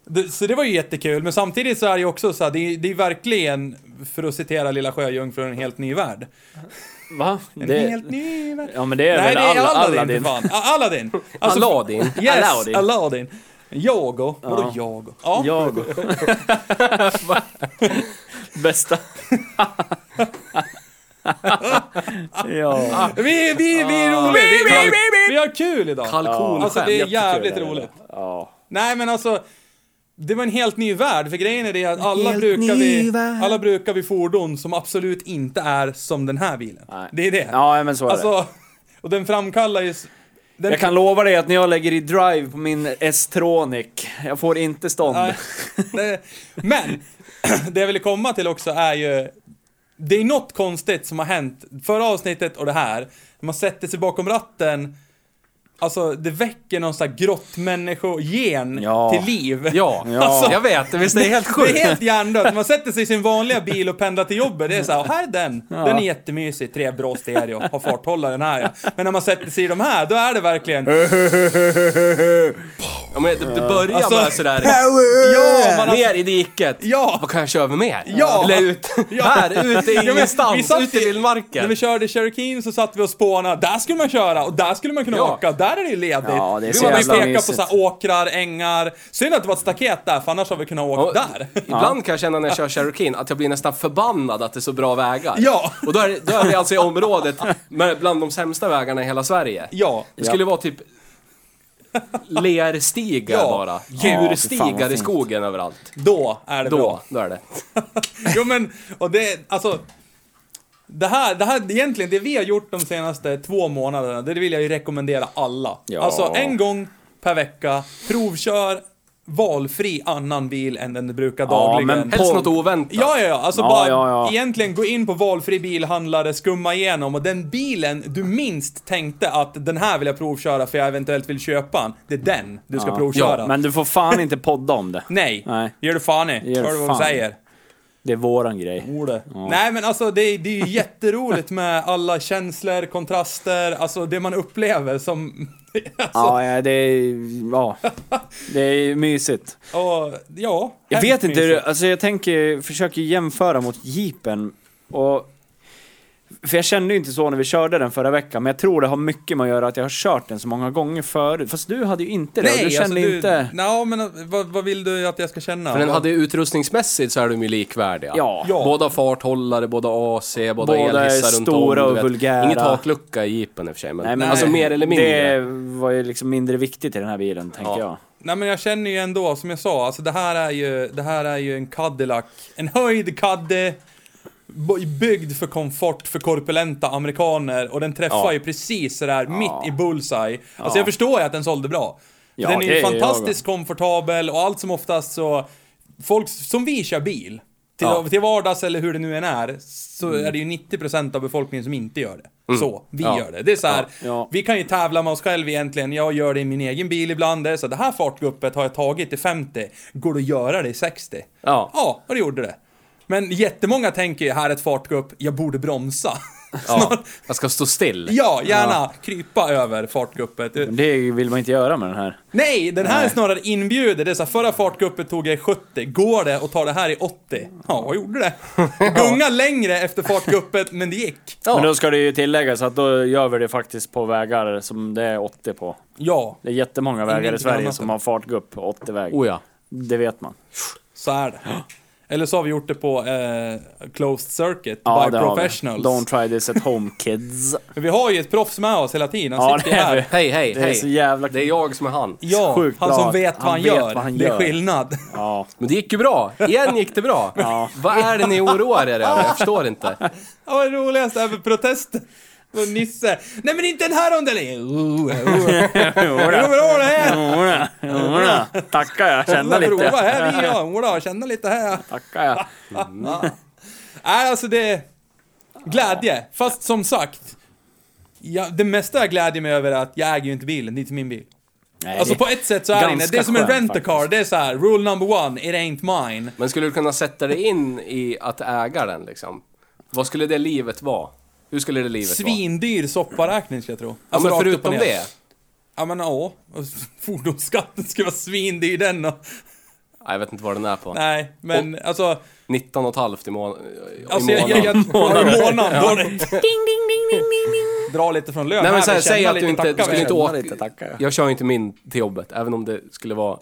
Speaker 1: Det, så det var ju jättekul, men samtidigt så är det ju också så här, det är, det är verkligen, för att citera Lilla Sjöjungfrun, en helt ny värld.
Speaker 2: Va?
Speaker 1: En
Speaker 2: Det...
Speaker 1: helt ny värld.
Speaker 2: Ja, men det är
Speaker 1: Nej,
Speaker 2: väl
Speaker 1: det är
Speaker 2: alla,
Speaker 1: Aladdin,
Speaker 2: Aladdin.
Speaker 1: för fan. Ah, Aladdin. Alltså,
Speaker 3: Aladdin.
Speaker 1: Yes,
Speaker 2: Aladdin.
Speaker 1: Aladdin. Jago. Vadå Jago? Ja.
Speaker 2: Jag. Bästa. ja.
Speaker 1: Vi, vi, vi är
Speaker 2: Ah.
Speaker 1: roliga! Vi, vi, vi, vi har kul idag!
Speaker 3: Kalkonskämt.
Speaker 1: Alltså det är
Speaker 3: Jättekul
Speaker 1: jävligt
Speaker 2: är det.
Speaker 1: roligt.
Speaker 2: ja.
Speaker 1: Nej men alltså, det var en helt ny värld för grejen är det att alla
Speaker 2: helt
Speaker 1: brukar,
Speaker 2: ny
Speaker 1: vi,
Speaker 2: värld.
Speaker 1: alla brukar vi fordon som absolut inte är som den här bilen.
Speaker 2: Nej.
Speaker 1: Det är det.
Speaker 2: Ja, men så är det.
Speaker 1: Alltså, och den framkallar ju... s- Den
Speaker 2: Jag kan lova dig att när jag lägger i drive på min S-tronic, jag får inte stånd.
Speaker 1: Nej. Det- Men, det jag ville komma till också är ju... Det är något konstigt som har hänt förra avsnittet och det här. När man sätter sig bakom ratten. Alltså, det väcker någon sån här grottmänniskogen
Speaker 2: Ja.
Speaker 1: till liv. Alltså,
Speaker 3: Ja,
Speaker 2: Ja.
Speaker 3: jag vet. Visst, det är helt
Speaker 1: Det
Speaker 3: sjukt.
Speaker 1: är helt hjärndött. Man sätter sig i sin vanliga bil och pendlar till jobbet. Det är så här, här är den. Den är jättemysig. Tre bra stereo. Har farthållaren här ja. Men när man sätter sig i de här, då är det verkligen...
Speaker 3: Ja, men det, det börjar
Speaker 1: Alltså-
Speaker 3: bara sådär.
Speaker 1: Ja, man har...
Speaker 3: Ner i diket.
Speaker 1: Ja!
Speaker 3: Vad kan jag köra med mer?
Speaker 1: Ja.
Speaker 3: Eller ut.
Speaker 1: Ja.
Speaker 3: Här, ute i
Speaker 1: Ja, men vi
Speaker 3: ingenstans.
Speaker 1: satt
Speaker 3: Ute i
Speaker 1: När vi
Speaker 3: vildmarken.
Speaker 1: körde Cherokeen så satt vi och spånade. Där skulle man köra och där skulle man kunna
Speaker 3: Ja.
Speaker 1: åka. Där är det ju ledigt.
Speaker 2: Ja, det är
Speaker 1: vi
Speaker 2: så
Speaker 1: var
Speaker 2: jävla
Speaker 1: peka på
Speaker 2: mysigt.
Speaker 1: så här åkrar, ängar. Synd att det var ett staket där, för annars hade vi kunnat åka
Speaker 3: Och
Speaker 1: där.
Speaker 3: Ibland kan jag känna när jag kör Cherokeen att jag blir nästan förbannad att det är så bra vägar.
Speaker 1: Ja.
Speaker 3: Och då är, det- då är vi alltså i området med bland de sämsta vägarna i hela Sverige.
Speaker 1: Ja.
Speaker 3: Det skulle vara typ lerstigar
Speaker 1: Ja.
Speaker 3: bara.
Speaker 2: Ja, fy fan, vad
Speaker 3: Djurstigar i
Speaker 2: fint.
Speaker 3: skogen överallt.
Speaker 1: Då är det
Speaker 3: Då,
Speaker 1: bra.
Speaker 3: då är det.
Speaker 1: Jo men, och det, alltså. Det här, det här, egentligen det vi har gjort de senaste två månaderna, det vill jag ju rekommendera alla.
Speaker 2: Ja.
Speaker 1: Alltså en gång per vecka, provkör valfri annan bil än den du brukar dagligen.
Speaker 2: men
Speaker 3: Helst
Speaker 2: Podd.
Speaker 3: något oväntat.
Speaker 1: Ja, ja, ja. Alltså
Speaker 2: Ja,
Speaker 1: bara
Speaker 2: ja, ja.
Speaker 1: egentligen gå in på valfri bilhandlare, skumma igenom och den bilen du minst tänkte att den här vill jag provköra för jag eventuellt vill köpa den, det är den du ska provköra.
Speaker 2: Men du får fan inte podda om det.
Speaker 1: Nej,
Speaker 2: Nej.
Speaker 1: gör du fan i.
Speaker 2: Gör
Speaker 1: Hör
Speaker 2: du
Speaker 1: du vad de
Speaker 2: fan i.
Speaker 1: säger?
Speaker 2: Det är våran grej.
Speaker 1: Orde. Nej men alltså det, är- det är ju jätteroligt med alla känslor, kontraster, alltså det man upplever som... alltså,
Speaker 2: Ja, ja, det är... Ja. Det är mysigt.
Speaker 1: och, ja.
Speaker 2: Jag
Speaker 1: hemskt
Speaker 2: vet inte, hur-
Speaker 1: mysigt.
Speaker 2: alltså jag tänker, försöker jämföra mot jeepen och... För jag kände ju inte så när vi körde den förra veckan, men jag tror det har mycket med att göra att jag har kört den så många gånger förut. Fast du hade ju inte det, och du
Speaker 1: Nej,
Speaker 2: kände
Speaker 1: alltså, du,
Speaker 2: inte...
Speaker 1: Nej, men uh, vad, vad vill du att jag ska känna?
Speaker 3: Men den
Speaker 1: Vad-
Speaker 3: hade ju utrustningsmässigt så är de ju likvärdiga.
Speaker 2: Ja.
Speaker 1: Ja.
Speaker 3: Båda farthållare, båda AC, båda,
Speaker 2: Båda är
Speaker 3: elhissar runt om.
Speaker 2: stora
Speaker 3: du
Speaker 2: och
Speaker 3: vet.
Speaker 2: vulgära.
Speaker 3: Ingen taklucka i jeepen i och för sig, men,
Speaker 2: Nej, men
Speaker 3: alltså
Speaker 1: Nej.
Speaker 3: mer eller mindre.
Speaker 2: Det var ju liksom mindre viktigt i den här bilen, tänker
Speaker 3: Ja.
Speaker 2: jag.
Speaker 1: Nej men jag känner ju ändå, som jag sa, alltså det här är ju, det här är ju en Cadillac. En höjd Caddy. bo- Byggd för komfort för korpulenta amerikaner och den träffar
Speaker 2: Ja.
Speaker 1: ju precis sådär mitt i bullseye. Alltså jag förstår ju att den sålde bra.
Speaker 2: Ja,
Speaker 1: den är
Speaker 2: det
Speaker 1: ju
Speaker 2: är jag
Speaker 1: fantastiskt komfortabel och allt som oftast så, folk som vi kör bil, till,
Speaker 3: Ja.
Speaker 1: till vardags eller hur det nu än är, så är det ju 90% av befolkningen som inte gör det. Så, vi
Speaker 3: Ja.
Speaker 1: gör det. Det är så här,
Speaker 2: Ja. Ja.
Speaker 1: vi kan ju tävla med oss själva egentligen. Jag gör det i min egen bil ibland. Det är så det här fartguppet har jag tagit i 50. Går det att göra det i 60?
Speaker 3: Ja.
Speaker 1: Ja, och det gjorde det. Men jättemånga tänker ju, här är ett fartgupp, jag borde bromsa.
Speaker 3: Ja. Jag ska stå still.
Speaker 1: Ja, gärna krypa över fartguppet.
Speaker 2: Men Det vill man inte göra med den här.
Speaker 1: Nej, den här snarare inbjuder. Det är så här, förra fartguppet tog jag i 70. Går det att ta det här i 80? Ja, jag gjorde det. Gunga längre efter fartguppet, men det gick.
Speaker 2: Men då ska det ju tilläggas att då gör vi det faktiskt på vägar som det är 80 på.
Speaker 1: Ja,
Speaker 2: Det är jättemånga vägar i
Speaker 1: Ingenting
Speaker 2: Sverige
Speaker 1: annat
Speaker 2: som
Speaker 1: än-
Speaker 2: har fartgupp 80-väg.
Speaker 3: Oh ja.
Speaker 2: Det vet man.
Speaker 1: så är det. Eller så har vi gjort det på eh, closed circuit,
Speaker 2: Ja,
Speaker 1: by
Speaker 2: det har vi.
Speaker 1: professionals.
Speaker 2: Don't try this at home kids.
Speaker 1: Men vi har ju ett proffs med oss hela tiden. Han
Speaker 2: Ja,
Speaker 1: sitter
Speaker 2: det
Speaker 1: ju
Speaker 2: är
Speaker 1: här.
Speaker 2: vi.
Speaker 3: Hej, hej,
Speaker 2: Det är
Speaker 3: hej.
Speaker 2: så jävla-
Speaker 3: Det är jag som är han.
Speaker 1: Ja,
Speaker 2: Sjukt
Speaker 1: han
Speaker 2: bra
Speaker 1: som vet
Speaker 2: att
Speaker 1: vad han,
Speaker 2: han vet
Speaker 1: gör.
Speaker 2: vad han
Speaker 1: Det är
Speaker 2: gör.
Speaker 1: skillnad.
Speaker 2: Ja.
Speaker 3: Men det gick ju bra. Igen gick det bra.
Speaker 2: Ja.
Speaker 3: Vad är det ni oroar er över? Jag förstår inte.
Speaker 1: Ja, vad roligast över protesten. Och Nisse. Nej men inte den här ronden längre. Oh, oh. Hur bra det här?
Speaker 2: Jodå, jodå. Tackar jag, känner
Speaker 1: Prova
Speaker 2: lite.
Speaker 1: här vi gör. Jodå, känna lite här.
Speaker 2: Tackar jag.
Speaker 3: Mm.
Speaker 1: Nej, alltså det... Glädje. Fast som sagt. Ja, det mesta jag glädjer mig över är att jag äger ju inte bilen, det är inte min bil.
Speaker 2: Nej,
Speaker 1: Alltså
Speaker 2: det-
Speaker 1: på ett sätt så är det inne.
Speaker 2: ganska
Speaker 1: Det är som en
Speaker 2: skönt
Speaker 1: rent-a-car.
Speaker 2: faktiskt.
Speaker 1: Det är så här, rule number one, it ain't mine.
Speaker 3: Men skulle du kunna sätta dig in i att äga den liksom? Vad skulle det livet vara? Hur skulle det livet vara?
Speaker 1: Svindyr sopparäkning ska jag tro. Alltså,
Speaker 3: Ja, men
Speaker 1: rakt
Speaker 2: Alltså,
Speaker 1: upp och
Speaker 3: förutom
Speaker 1: ner.
Speaker 3: det.
Speaker 1: Ja men ja, Och fordonsskatten ska vara svindyr den och,
Speaker 3: Ja, Jag vet inte vad den är på.
Speaker 1: Nej, men alltså...
Speaker 3: 19 och ett halvt i, må- i
Speaker 1: Alltså jag,
Speaker 3: månaden.
Speaker 1: jag, jag, månaden. månaden då, ding, ding, ding, ding, ding. Dra lite från lönen
Speaker 3: Nej men så här,
Speaker 1: och känna
Speaker 3: säg att du
Speaker 1: lite,
Speaker 3: inte, du
Speaker 1: tacka
Speaker 3: skulle inte
Speaker 1: väl.
Speaker 2: Känna
Speaker 3: åka...
Speaker 2: lite, tackar jag.
Speaker 3: jag kör ju inte min till jobbet, även om det skulle vara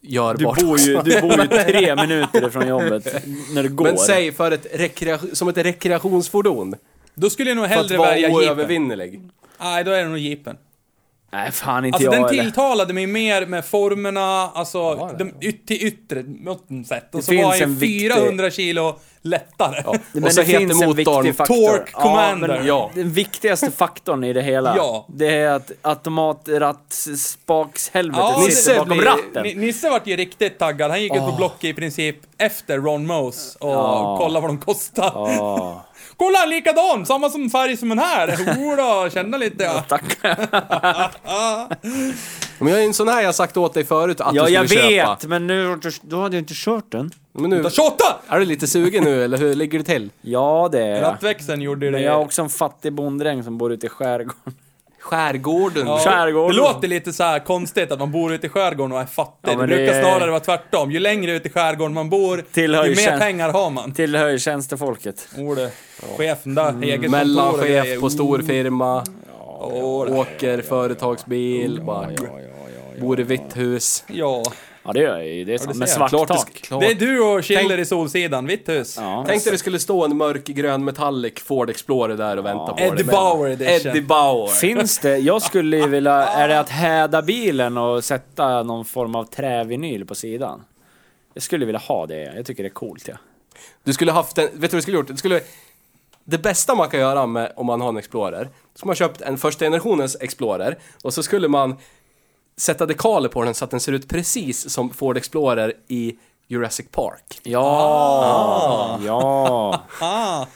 Speaker 2: Du
Speaker 3: görbart.
Speaker 2: bor, ju, du bor ju tre minuter ifrån jobbet när du går.
Speaker 3: Men säg för ett rekreation, som ett rekreationsfordon.
Speaker 1: Då skulle jag nog
Speaker 3: För att
Speaker 1: hellre välja
Speaker 3: vara
Speaker 1: jeepen.
Speaker 3: oövervinnerlig.
Speaker 1: Nej, då är det nog jeepen.
Speaker 2: Nej, fan inte
Speaker 1: Alltså
Speaker 2: jag
Speaker 1: den
Speaker 2: eller.
Speaker 1: tilltalade mig mer med formerna, alltså
Speaker 3: det.
Speaker 1: de yt till yttre mått sätt. Och
Speaker 2: Det
Speaker 1: så var
Speaker 2: finns en
Speaker 1: jag
Speaker 2: viktig-
Speaker 1: 400 kilo lättare. Ja.
Speaker 2: Men
Speaker 3: Och så
Speaker 2: det
Speaker 3: heter
Speaker 2: finns en
Speaker 3: motorn
Speaker 2: viktig faktor.
Speaker 1: Torque Commander.
Speaker 2: Ja, men
Speaker 3: Ja.
Speaker 2: Den viktigaste faktorn i det hela,
Speaker 1: Ja.
Speaker 2: det är att automatrattsspakshelvetet
Speaker 1: Ja,
Speaker 2: sitter
Speaker 3: Nisse
Speaker 2: bakom
Speaker 3: blir-
Speaker 2: ratten.
Speaker 1: Ni- Nisse vart ju riktigt taggad. Han gick ut på Blocket i princip efter Ron Mose och kollade vad de kostar.
Speaker 2: Ja.
Speaker 1: Kolla, likadan! Samma som färg som den här! Jodå, känna lite ja.
Speaker 2: Tackar.
Speaker 3: Men jag är en sån här jag sagt åt dig förut att
Speaker 2: Ja,
Speaker 3: du
Speaker 2: jag
Speaker 3: skulle köpa.
Speaker 2: vet, men nu, då hade jag inte kört den.
Speaker 3: Men nu,
Speaker 1: 28!
Speaker 3: är du lite sugen nu eller hur ligger det till?
Speaker 2: Ja, det är jag.
Speaker 1: Rattväxeln gjorde ju det.
Speaker 2: Men jag är också en fattig bonddräng som bor ute i skärgården.
Speaker 3: Skärgården.
Speaker 1: Ja,
Speaker 2: skärgården.
Speaker 1: Det låter lite så här konstigt att man bor ute i skärgården och är fattig.
Speaker 2: Ja,
Speaker 1: det
Speaker 2: men det
Speaker 1: brukar
Speaker 2: är-
Speaker 1: snarare vara tvärtom. Ju längre ut i skärgården man bor,
Speaker 2: Tillhör
Speaker 1: ju
Speaker 2: ju
Speaker 1: mer
Speaker 2: tjänst-
Speaker 1: pengar har man.
Speaker 2: Tillhör ju tjänstefolket.
Speaker 1: Orde. Chefen där,
Speaker 2: Mm,
Speaker 1: eget kontor och grejer.
Speaker 3: Mellanchef på stor firma.
Speaker 1: Åh, det-
Speaker 3: Åker företagsbil. bara, bor i vitt hus.
Speaker 1: Ja.
Speaker 2: Ja, det gör jag ju. Det är sant. Med
Speaker 1: ser
Speaker 2: svart
Speaker 1: jag.
Speaker 3: Klart det
Speaker 2: tak.
Speaker 3: sk- klart.
Speaker 1: Det är du och Schiller i Solsidan, vitt hus.
Speaker 2: Ja.
Speaker 3: Tänk dig det skulle stå en mörkgrön metallic Ford Explorer där och vänta på dig.
Speaker 1: Eddie Bauer edition.
Speaker 3: Eddie Bauer.
Speaker 2: Finns det? Jag skulle ju vilja... Är det att häda bilen och sätta någon form av trävinyl på sidan? Jag skulle vilja ha det. Jag tycker det är coolt, ja.
Speaker 3: Du skulle haft en, vet du vad du skulle gjort? Du skulle, det bästa man kan göra med, om man har en Explorer, då skulle man köpt en första generationens Explorer och så skulle man sätta dekaler på den så att den ser ut precis som Ford Explorer i Jurassic Park.
Speaker 2: Ja! Ja!
Speaker 1: Ah,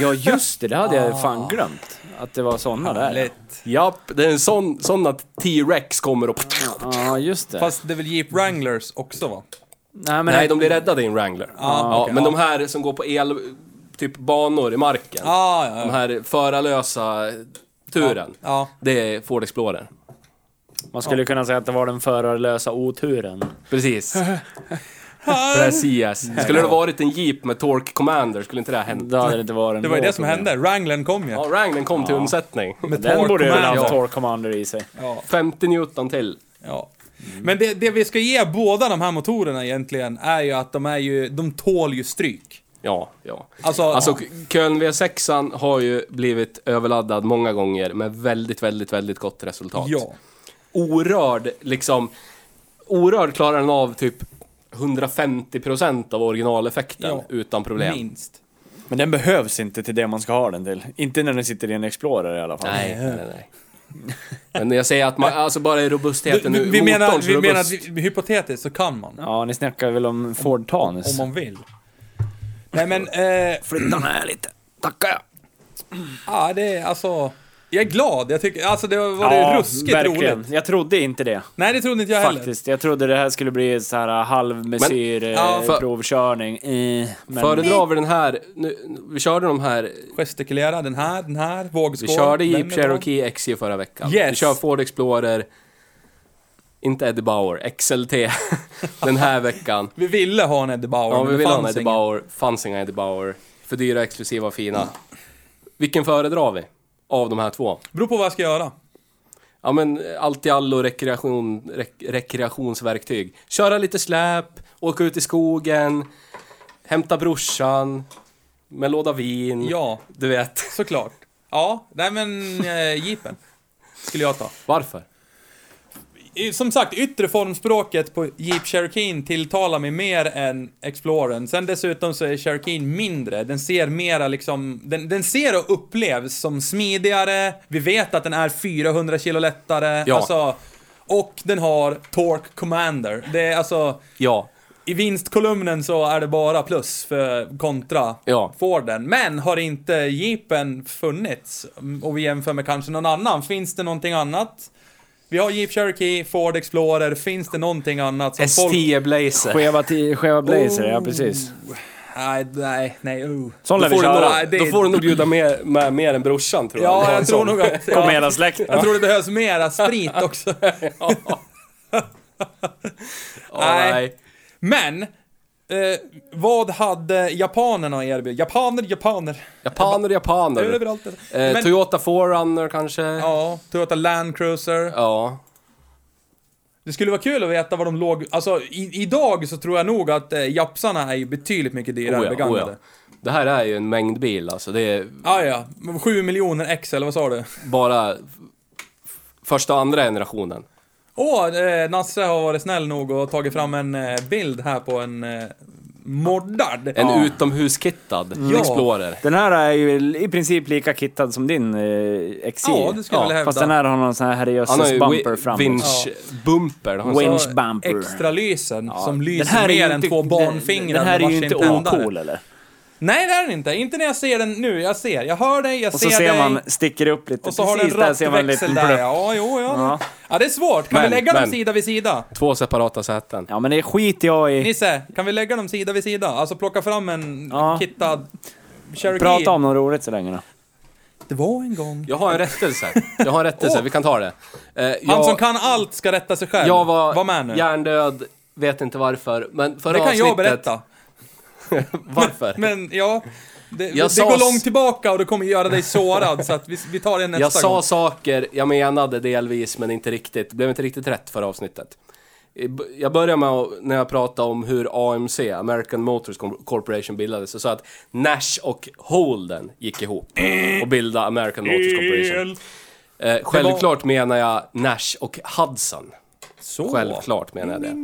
Speaker 2: Ja, just det. Det hade jag ju fan glömt. Att det var såna där.
Speaker 1: lätt.
Speaker 3: Japp, det är en sån, sån att T-Rex kommer och...
Speaker 2: Ja, just det.
Speaker 1: Fast det är väl Jeep Wranglers också va?
Speaker 2: Nej, men...
Speaker 3: Nej, de blir räddade i en Wrangler. ja,
Speaker 1: okej.
Speaker 3: men de här som går på el, typ banor i marken.
Speaker 1: Ah, ja,
Speaker 2: Mm.
Speaker 3: De
Speaker 1: ja.
Speaker 3: här förarlösa turen.
Speaker 1: Ja.
Speaker 3: Det är Ford Explorer.
Speaker 2: Man skulle kunna säga att det var den förarlösa oturen.
Speaker 3: Precis. Precis. Skulle det ha varit en Jeep med Torque Commander skulle inte det ha hänt.
Speaker 2: Då hade det inte varit
Speaker 1: Det var ju det som hände. Wranglern kom ju.
Speaker 3: Ja, Wranglern kom till undsättning.
Speaker 1: Med
Speaker 2: Den
Speaker 1: tork
Speaker 2: borde ju
Speaker 1: och
Speaker 2: väl ha
Speaker 1: manual.
Speaker 2: haft Torque Commander i sig.
Speaker 1: Ja.
Speaker 3: 50 Newton till.
Speaker 1: Ja.
Speaker 2: Mm.
Speaker 1: Men det, det vi ska ge båda de här motorerna egentligen är ju att de är ju, de tål ju stryk.
Speaker 3: Ja, ja.
Speaker 1: Alltså,
Speaker 3: Alltså, Köln V6 har ju blivit överladdad många gånger med väldigt, väldigt, väldigt gott resultat.
Speaker 1: ja.
Speaker 3: Orörd, liksom. Orörd klarar den av typ 150% av originaleffekten
Speaker 1: Ja.
Speaker 3: utan problem.
Speaker 1: Minst.
Speaker 2: Men den behövs inte till det man ska ha den till. Inte när den sitter i en Explorer i alla fall.
Speaker 3: Nej, nej, nej, nej. Men jag säger att man, alltså bara i robustheten
Speaker 1: Vi,
Speaker 3: nu,
Speaker 1: vi, menar,
Speaker 3: motorns
Speaker 1: vi menar att
Speaker 3: robust-
Speaker 1: vi, hypotetiskt så kan man.
Speaker 2: Ja, ni snackar väl om Ford Tanus?
Speaker 1: Om man vill. Nej men, eh,
Speaker 2: Flytta ner lite. Tackar jag.
Speaker 1: ja det är alltså... Jag är glad. Jag tycker, alltså det var det ruskigt roligt.
Speaker 2: Jag trodde inte det.
Speaker 1: Nej det trodde inte jag heller.
Speaker 2: Faktiskt. Jag trodde det här skulle bli så här halvmesyr
Speaker 3: Men-
Speaker 2: eh,
Speaker 3: ja, för-
Speaker 2: provkörning. Eh, men
Speaker 3: Föredrar vi den här, nu, vi körde de här,
Speaker 1: Gestikulera, den här, den här,
Speaker 3: vi
Speaker 1: vågskål.
Speaker 3: körde
Speaker 1: den
Speaker 3: Jeep
Speaker 1: är bra.
Speaker 3: Cherokee XJ förra veckan.
Speaker 1: Yes.
Speaker 3: Vi kör Ford Explorer, inte Eddie Bauer, XLT, den här veckan.
Speaker 1: Vi ville ha en Eddie Bauer,
Speaker 3: Ja,
Speaker 1: men
Speaker 3: vi
Speaker 1: det
Speaker 3: vill ha en
Speaker 1: fanns
Speaker 3: Eddie
Speaker 1: ingen.
Speaker 3: Bauer, fanns inga Eddie Bauer. För dyra, exklusiva och fina. Vilken föredrar vi? Av de här två?
Speaker 1: Beror på vad jag ska göra.
Speaker 3: Mm. eh, Ja men allt i allo rekreation, rek, rekreationsverktyg. Köra lite släp åka ut i skogen, hämta brorsan med låda vin.
Speaker 1: Ja,
Speaker 3: Du vet.
Speaker 1: såklart. Ja, nej men eh, jeepen skulle jag ta.
Speaker 3: Varför?
Speaker 1: I- Som sagt, yttre formspråket på Jeep Cherokeen tilltalar mig mer än Explorern. Sen dessutom så är Cherokeen mindre. Den ser mera liksom... Den, den ser och upplevs som smidigare. Vi vet att den är 400 kilo lättare.
Speaker 3: Ja.
Speaker 1: Alltså, och den har Torque Commander. Det är alltså...
Speaker 3: Ja.
Speaker 1: I vinstkolumnen så är det bara plus för kontra
Speaker 3: Ja.
Speaker 1: Forden. Men har inte Jeepen funnits mm, och vi jämför med kanske någon annan, finns det någonting annat? Vi har Jeep Cherokee, Ford Explorer, finns det någonting annat som folk...
Speaker 3: ST Blazer.
Speaker 2: Skeva, ti- skeva blazer, ja
Speaker 1: Oh,
Speaker 2: precis.
Speaker 1: Nej, nej, nej, uh.
Speaker 2: Sån lär
Speaker 3: Då
Speaker 2: vi
Speaker 3: får, du
Speaker 2: köra.
Speaker 1: några-
Speaker 3: nog,
Speaker 1: det-
Speaker 3: då får du nog bjuda med, med mer än brorsan tror jag.
Speaker 1: Ja,
Speaker 3: Ha en
Speaker 1: jag tror
Speaker 3: sån.
Speaker 1: nog att...
Speaker 2: Kom
Speaker 1: Ja,
Speaker 2: hela släkten.
Speaker 1: jag tror det behövs mera sprit också.
Speaker 3: Ja,
Speaker 1: nej.
Speaker 3: nej.
Speaker 1: Men, eh, vad hade japanerna att erbjuda? Japaner, japaner.
Speaker 3: Japaner,
Speaker 1: Det är
Speaker 3: japaner.
Speaker 1: överallt. Eh,
Speaker 3: Eh,
Speaker 1: Men,
Speaker 3: Toyota 4Runner kanske? Ja.
Speaker 1: ja, Toyota Land Cruiser. Det skulle vara kul att veta vad de låg... Alltså, i, idag så tror jag nog att eh, japsarna är ju betydligt mycket dyrare än
Speaker 3: Oh ja, oh ja.
Speaker 1: begagnade.
Speaker 3: Det här är ju en mängd bil alltså. Det är
Speaker 1: Ah, ja, Men 7 miljoner ex, eller vad sa du?
Speaker 3: bara f- första och andra generationen.
Speaker 1: Åh, eh, Nasse har varit snäll nog och tagit fram en eh, bild här på en eh, moddad.
Speaker 3: En utomhuskittad
Speaker 1: Ja.
Speaker 3: Explorer.
Speaker 2: Den här är ju i princip lika kittad som din eh, XJ.
Speaker 1: Ja, det skulle jag vilja hävda.
Speaker 2: Fast den här har någon sån här
Speaker 3: Han har ju
Speaker 2: herrejösses bumper
Speaker 3: wi-
Speaker 2: framåt.
Speaker 3: vinch
Speaker 1: Ja.
Speaker 3: bumper. har han
Speaker 2: Winch-
Speaker 3: sagt.
Speaker 2: Inch bumper.
Speaker 1: Extra lysen som lyser
Speaker 2: Den här är ju
Speaker 1: mer än
Speaker 2: inte-
Speaker 1: två
Speaker 2: den-
Speaker 1: barnfingrar
Speaker 2: Den här är
Speaker 1: med
Speaker 2: ju
Speaker 1: varsin
Speaker 2: inte
Speaker 1: tändare.
Speaker 2: ocool eller?
Speaker 1: Nej, det är den inte. Inte när jag ser den nu. Jag ser. Jag hör dig, jag
Speaker 2: Och
Speaker 1: ser
Speaker 2: så ser
Speaker 1: dig.
Speaker 2: man, sticker det upp lite.
Speaker 1: och så har den
Speaker 2: Precis, där ser man en
Speaker 1: rattväxel
Speaker 2: liten
Speaker 1: där.
Speaker 2: plupp.
Speaker 1: Ja, jo, ja. ja.
Speaker 2: Ja.
Speaker 1: det är svårt. Kan vi
Speaker 3: Men,
Speaker 1: lägga dem
Speaker 3: men.
Speaker 1: sida vid sida?
Speaker 3: Två separata säten.
Speaker 2: Ja men det skiter jag i.
Speaker 1: Nisse, kan vi lägga dem sida vid sida? Alltså plocka fram en
Speaker 2: Ja.
Speaker 1: kittad Cherokee.
Speaker 2: Prata om något roligt så länge då.
Speaker 1: Det var en gång.
Speaker 3: Jag har en rättelse. Jag har en rättelse,
Speaker 1: Åh.
Speaker 3: vi kan ta det. Eh,
Speaker 1: Han
Speaker 3: jag,
Speaker 1: som kan allt ska rätta sig själv.
Speaker 3: jag var
Speaker 1: Var med nu.
Speaker 3: hjärndöd, vet inte varför. Men förra
Speaker 1: det kan
Speaker 3: avsnittet,
Speaker 1: jag berätta.
Speaker 3: Varför?
Speaker 1: Men ja, det,
Speaker 3: Jag
Speaker 1: det
Speaker 3: sa
Speaker 1: går
Speaker 3: s-
Speaker 1: långt tillbaka och det kommer göra dig sårad så att vi, vi tar det nästa
Speaker 3: jag sa
Speaker 1: gång.
Speaker 3: saker jag menade delvis, men inte riktigt. Blev inte riktigt rätt förra avsnittet. I b- Jag började med att, när jag pratade om hur AMC, American Motors Com- Corporation, bildades, så sa jag att Nash och Holden gick ihop och bildade American Motors Corporation. Eh, självklart menar jag Nash och Hudson.
Speaker 1: Så.
Speaker 3: Självklart menar jag det.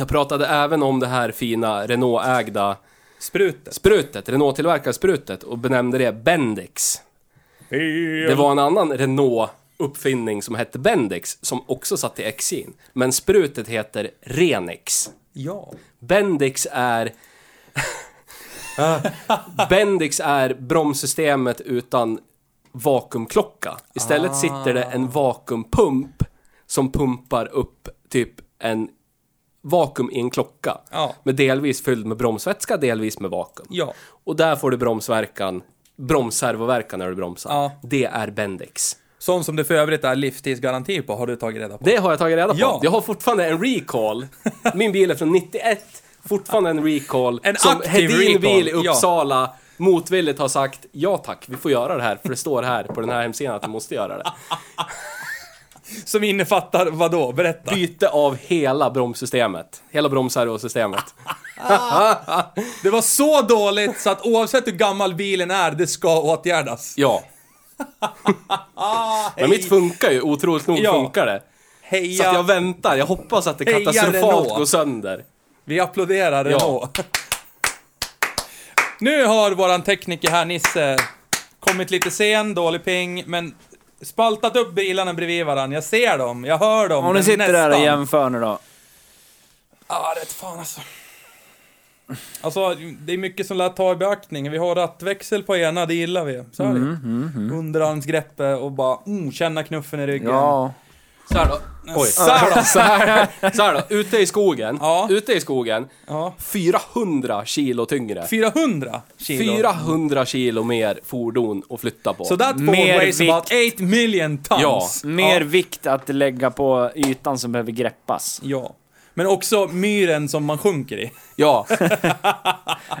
Speaker 3: Jag pratade även om det här fina Renault-ägda
Speaker 1: Sprutet.
Speaker 3: sprutet, Renault-tillverkade sprutet och benämnde det Bendix. Det var en annan Renault-uppfinning som hette Bendix som också satt i Exin. Men sprutet heter Renix.
Speaker 1: Ja.
Speaker 3: Bendix är... Bendix är bromssystemet utan vakuumklocka.
Speaker 1: Ah.
Speaker 3: Istället sitter det en vakuumpump som pumpar upp typ en vakuum i en klocka.
Speaker 1: Ja.
Speaker 3: Med delvis fylld med bromsvätska, delvis med vakuum.
Speaker 1: Ja.
Speaker 3: Och där får du bromsverkan, bromsservoverkan när du bromsar.
Speaker 1: Ja.
Speaker 3: Det är Bendix.
Speaker 1: Sånt som det för övrigt är livstidsgaranti på har du tagit reda på.
Speaker 3: Det har jag tagit reda på.
Speaker 1: Ja.
Speaker 3: Jag har fortfarande en recall. Min bil är från 91. Fortfarande en recall.
Speaker 1: En
Speaker 3: som
Speaker 1: aktiv
Speaker 3: Hedin
Speaker 1: recall,
Speaker 3: bil i
Speaker 1: ja.
Speaker 3: Uppsala motvilligt har sagt ja tack, vi får göra det här för det står här på den här hemsidan att vi måste göra det.
Speaker 1: Som innefattar vadå? Berätta.
Speaker 3: Byte av hela bromssystemet. Hela bromsservosystemet.
Speaker 1: Det var så dåligt så att oavsett hur gammal bilen är, det ska åtgärdas.
Speaker 3: Ja. Ah, Men mitt funkar ju, otroligt nog
Speaker 1: Ja.
Speaker 3: funkar det. Så
Speaker 1: Heja!
Speaker 3: att jag väntar, jag hoppas att det
Speaker 1: Heja
Speaker 3: katastrofalt
Speaker 1: Renault.
Speaker 3: går sönder.
Speaker 1: Vi applåderar Renault. nu har våran tekniker här, Nisse, kommit lite sen, dålig ping, men spaltat upp bilarna bredvid varandra. Jag ser dem, jag hör dem.
Speaker 2: Om ni
Speaker 1: men
Speaker 2: sitter där och
Speaker 1: nästan.
Speaker 2: jämför nu då.
Speaker 1: Ah, rätt fan alltså. Alltså, det är mycket som lär ta i beaktning. Vi har rattväxel på ena, det gillar vi. Så är det.
Speaker 3: Mm,
Speaker 1: Underarmsgreppet och bara, mm, känna knuffen i ryggen.
Speaker 2: Ja.
Speaker 3: Så här då. Oj.
Speaker 1: Så här då.
Speaker 3: Så här, så här då, ute i skogen,
Speaker 1: Ja.
Speaker 3: ute i skogen,
Speaker 1: Ja.
Speaker 3: 400 kilo tyngre.
Speaker 1: 400 kilo.
Speaker 3: 400 kilo mer fordon att flytta på.
Speaker 1: So that Ford
Speaker 2: Mer
Speaker 1: weighs
Speaker 2: vikt.
Speaker 1: about 8 million tons.
Speaker 3: Ja.
Speaker 2: Mer vikt att lägga på ytan som behöver greppas.
Speaker 1: Ja. Men också myren som man sjunker i.
Speaker 3: Ja,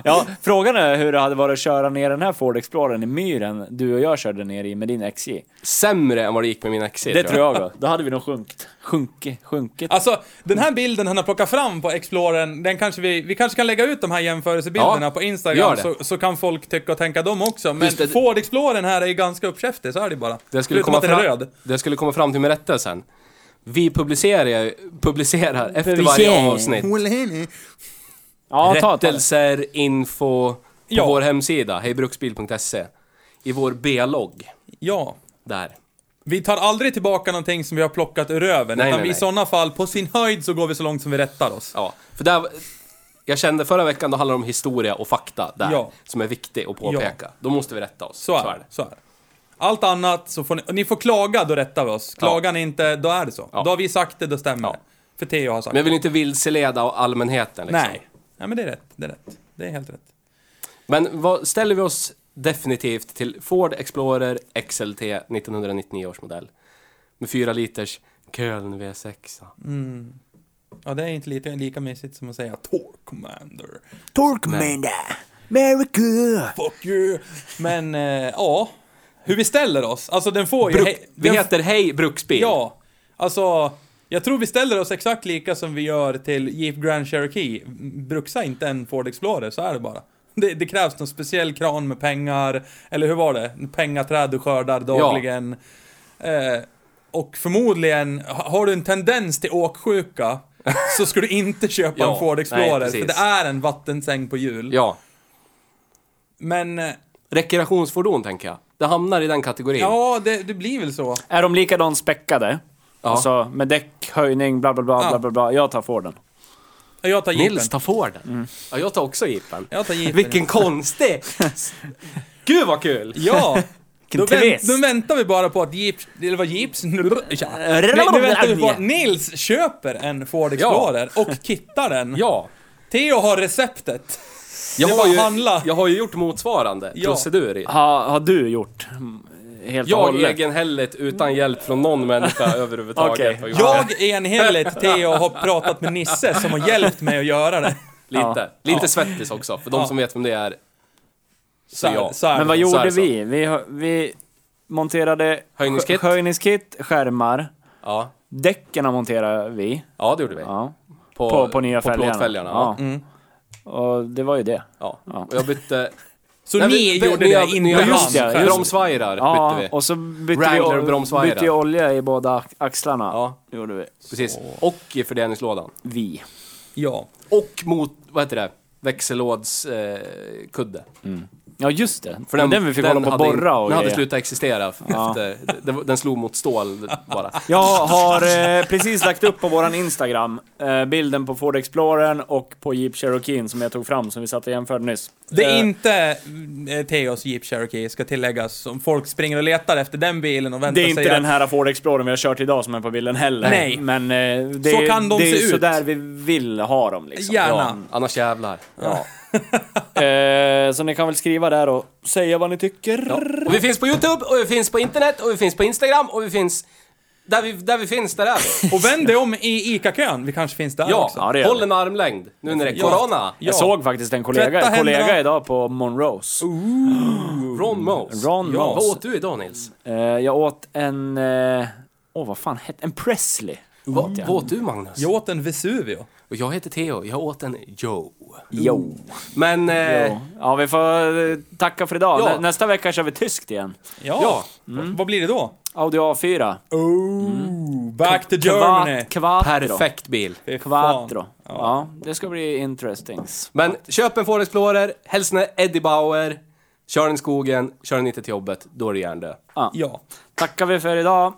Speaker 2: Ja, frågan är hur det hade varit att köra ner den här Ford Explorern i myren du och jag körde ner i med din XJ.
Speaker 3: sämre än vad det gick med min XC
Speaker 2: Det tror jag då. Då hade vi nog sjunkit. Sjunkit, sjunkit.
Speaker 1: Alltså, den här bilden han har plockat fram på Explorern, den kanske vi, vi kanske kan lägga ut de här jämförelsebilderna
Speaker 3: Ja,
Speaker 1: på
Speaker 3: gör
Speaker 1: Instagram
Speaker 3: det.
Speaker 1: så, så kan folk tycka och tänka dem också. Men
Speaker 3: Just det.
Speaker 1: Ford Explorern här är ju ganska uppkäftig, så är det bara.
Speaker 3: Det skulle,
Speaker 1: Förutom
Speaker 3: komma
Speaker 1: att den är
Speaker 3: fram,
Speaker 1: röd.
Speaker 3: det skulle komma fram till med rätta sen. Vi publicerar, publicerar efter varje
Speaker 2: Publicering.
Speaker 3: avsnitt.
Speaker 2: Ja, ta, ta det.
Speaker 3: Rättelser, info på
Speaker 1: Ja.
Speaker 3: vår hemsida, hejbruksbil.se. E. I vår B-logg.
Speaker 1: Ja.
Speaker 3: Där.
Speaker 1: Vi tar aldrig tillbaka någonting som vi har plockat ur röven,
Speaker 3: Nej,
Speaker 1: utan
Speaker 3: nej,
Speaker 1: vi i
Speaker 3: nej.
Speaker 1: sådana fall, på sin höjd, så går vi så långt som vi rättar oss.
Speaker 3: Ja, för där... Jag kände förra veckan, då handlade det om historia och fakta där.
Speaker 1: Ja.
Speaker 3: Som är viktig att påpeka. Då måste vi rätta oss.
Speaker 1: Så är, det. Så är det. Allt annat så får ni, och ni får klaga, då rättar vi oss. Klagar ni inte, då är det så.
Speaker 3: Ja.
Speaker 1: Då har vi sagt det, då stämmer
Speaker 3: Ja.
Speaker 1: det. För Theo har sagt
Speaker 3: Men jag
Speaker 1: det.
Speaker 3: vill inte vilseleda allmänheten liksom.
Speaker 1: Nej. Nej, men det är rätt. Det är rätt. Det är helt rätt.
Speaker 3: Men vad ställer vi oss definitivt till Ford Explorer XLT 1999 års modell? Med 4 liters Köln V6.
Speaker 1: Mm. Ja, det är inte lite, lika mysigt som att säga Torkmander.
Speaker 2: Torkmanda! America!
Speaker 1: Fuck you! Men, eh, ja. Hur vi ställer oss. Alltså den får ju...
Speaker 3: Bruk,
Speaker 1: he-
Speaker 3: vi
Speaker 1: den-
Speaker 3: heter Hej Bruksbil.
Speaker 1: Ja. Alltså, jag tror vi ställer oss exakt lika som vi gör till Jeep Grand Cherokee. Bruksa inte en Ford Explorer, så är det bara. Det, det krävs någon speciell kran med pengar, eller hur var det? Pengaträd du skördar dagligen. Eh, och förmodligen, ha- har du en tendens till åksjuka, så ska du inte köpa
Speaker 3: Ja,
Speaker 1: en Ford Explorer,
Speaker 3: nej, precis.
Speaker 1: för det är en vattensäng på hjul.
Speaker 3: ja.
Speaker 1: Men, eh,
Speaker 3: Rekreationsfordon tänker jag. Det hamnar i den kategorin.
Speaker 1: ja, det, det blir väl så.
Speaker 2: Är de likadant späckade?
Speaker 3: Ja.
Speaker 2: Alltså med däck, höjning, bla bla bla,
Speaker 1: Ja.
Speaker 2: bla bla bla. Jag tar Forden.
Speaker 1: Jag tar Jeepen.
Speaker 3: Nils tar Forden. Ja, jag tar också Jeepen.
Speaker 1: Jag tar Jeepen.
Speaker 3: Vilken konstig... Gud vad kul!
Speaker 1: Ja! Då,
Speaker 2: Vilken
Speaker 1: vänt,
Speaker 2: twist.
Speaker 1: då väntar vi bara på att Jeeps, eller vad Jeeps... Nej, nu väntar vi på att Nils köper en Ford Explorer och kittar den.
Speaker 3: Ja.
Speaker 1: Theo har receptet.
Speaker 3: Jag
Speaker 1: Det är
Speaker 3: har,
Speaker 1: bara
Speaker 3: ju,
Speaker 1: att handla.
Speaker 3: jag har ju gjort motsvarande
Speaker 1: Ja.
Speaker 3: procedur.
Speaker 2: Ha, har du gjort? mm, Helt och
Speaker 3: Jag
Speaker 2: hållet?
Speaker 3: egenhälligt utan hjälp från någon människa överhuvudtaget.
Speaker 2: Okej.
Speaker 3: har gjort det.
Speaker 1: Jag enhälligt, Theo, har pratat med Nisse som har hjälpt mig att göra det.
Speaker 3: Lite, lite svettis också, för de som vet vem det är. Så
Speaker 1: Så,
Speaker 3: jag.
Speaker 1: så är
Speaker 2: Men
Speaker 1: det.
Speaker 2: vad
Speaker 3: Så är
Speaker 2: gjorde
Speaker 3: det så.
Speaker 2: vi? vi? hö- Vi monterade
Speaker 3: Höjningskit.
Speaker 2: skö- höjningskit skärmar.
Speaker 3: Ja.
Speaker 2: Däcken monterade vi.
Speaker 3: ja, det gjorde vi.
Speaker 2: Ja.
Speaker 3: På,
Speaker 2: På, på nya
Speaker 3: på
Speaker 2: fälgarna.
Speaker 3: plåtfälgarna.
Speaker 2: Ja.
Speaker 3: Ja. Mm.
Speaker 2: Och det var ju det.
Speaker 3: Ja. Och jag bytte...
Speaker 1: Så
Speaker 3: Nej,
Speaker 1: ni
Speaker 3: vi-
Speaker 1: gjorde
Speaker 3: nya-
Speaker 1: det
Speaker 3: nya
Speaker 1: inte
Speaker 2: just det,
Speaker 1: han
Speaker 2: just det.
Speaker 1: själv.
Speaker 3: Bromsvajrar
Speaker 2: Ja,
Speaker 3: bytte vi.
Speaker 2: och så bytte vi,
Speaker 3: Wrangler
Speaker 2: o-
Speaker 3: bromsvajrar.
Speaker 2: bytte vi olja i båda ax- axlarna.
Speaker 3: Ja.
Speaker 2: Det gjorde vi.
Speaker 3: Precis. Och i fördelningslådan.
Speaker 2: Vi.
Speaker 1: Ja.
Speaker 3: Och mot, vad heter det? Växellådskudde. Eh, kudde.
Speaker 2: Ja, just det. För den, den vi fick hålla på och
Speaker 3: hade in-
Speaker 2: borra och
Speaker 3: Den hade
Speaker 2: grejer.
Speaker 3: slutat existera efter... det var- Den slog mot stål bara.
Speaker 2: Jag har eh, precis lagt upp på våran Instagram eh, bilden på Ford Explorern och på Jeep Cherokeen som jag tog fram som vi satt och jämförde nyss.
Speaker 1: Det är
Speaker 2: Eh,
Speaker 1: inte eh, Theos Jeep Cherokee, ska tilläggas, som folk springer och letar efter den bilen och
Speaker 2: Det
Speaker 1: väntar
Speaker 2: är inte
Speaker 1: sig
Speaker 2: den
Speaker 1: att...
Speaker 2: här Ford Explorern vi har kört idag som är på bilden heller.
Speaker 1: Nej.
Speaker 2: Men eh, det,
Speaker 1: Så
Speaker 2: är-
Speaker 1: kan de
Speaker 2: det
Speaker 1: se
Speaker 2: är
Speaker 1: ut.
Speaker 2: sådär vi vill ha dem liksom.
Speaker 1: Gärna.
Speaker 3: Annars jävlar.
Speaker 2: Ja. eh, så ni kan väl skriva där och säga vad ni tycker.
Speaker 3: Och vi finns på YouTube, och vi finns på internet, och vi finns på Instagram, och vi finns... Där vi, där vi finns, där är vi.
Speaker 1: Och vänd dig om i ICA-kön, vi kanske finns där
Speaker 3: Ja,
Speaker 1: också.
Speaker 2: Ja, det gör
Speaker 3: håll
Speaker 2: vi.
Speaker 3: en armlängd nu när det är
Speaker 1: Ja.
Speaker 3: corona.
Speaker 1: Ja.
Speaker 2: Jag såg faktiskt en kollega,
Speaker 1: Tvätta händerna. Oh.
Speaker 2: kollega idag på Monrose.
Speaker 3: Ron Mose.
Speaker 2: Ron
Speaker 3: ja.
Speaker 2: Mose.
Speaker 3: Vad åt du idag Nils?
Speaker 2: Eh, jag åt en... Åh, eh, åh, vad fan hette En Presley.
Speaker 3: Vad, vad åt du Magnus?
Speaker 1: Jag åt en Vesuvio.
Speaker 3: Och jag heter Theo, jag åt en Joe.
Speaker 2: Jo.
Speaker 3: Men... Eh,
Speaker 2: Jo. Ja, vi får eh, tacka för idag.
Speaker 3: Ja.
Speaker 2: Nä- Nästa vecka kör vi tyskt igen.
Speaker 1: Ja.
Speaker 3: Ja.
Speaker 1: Vad blir det då?
Speaker 2: Audi A4.
Speaker 1: Oh, back to Germany!
Speaker 2: Kvat, kvatro.
Speaker 3: Perfekt bil.
Speaker 1: Fy fan.
Speaker 2: Quattro. Ja. det ska bli interestings.
Speaker 3: Men köp en Ford Explorer, hälsningar Eddie Bauer, kör den i skogen, kör den inte till jobbet, då är det hjärndöd.
Speaker 1: Ja,
Speaker 2: Tackar vi för idag.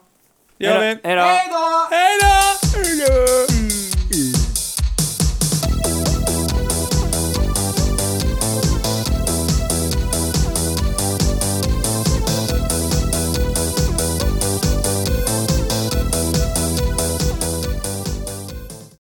Speaker 1: det gör vi. Mm.
Speaker 2: Hej då!
Speaker 3: då!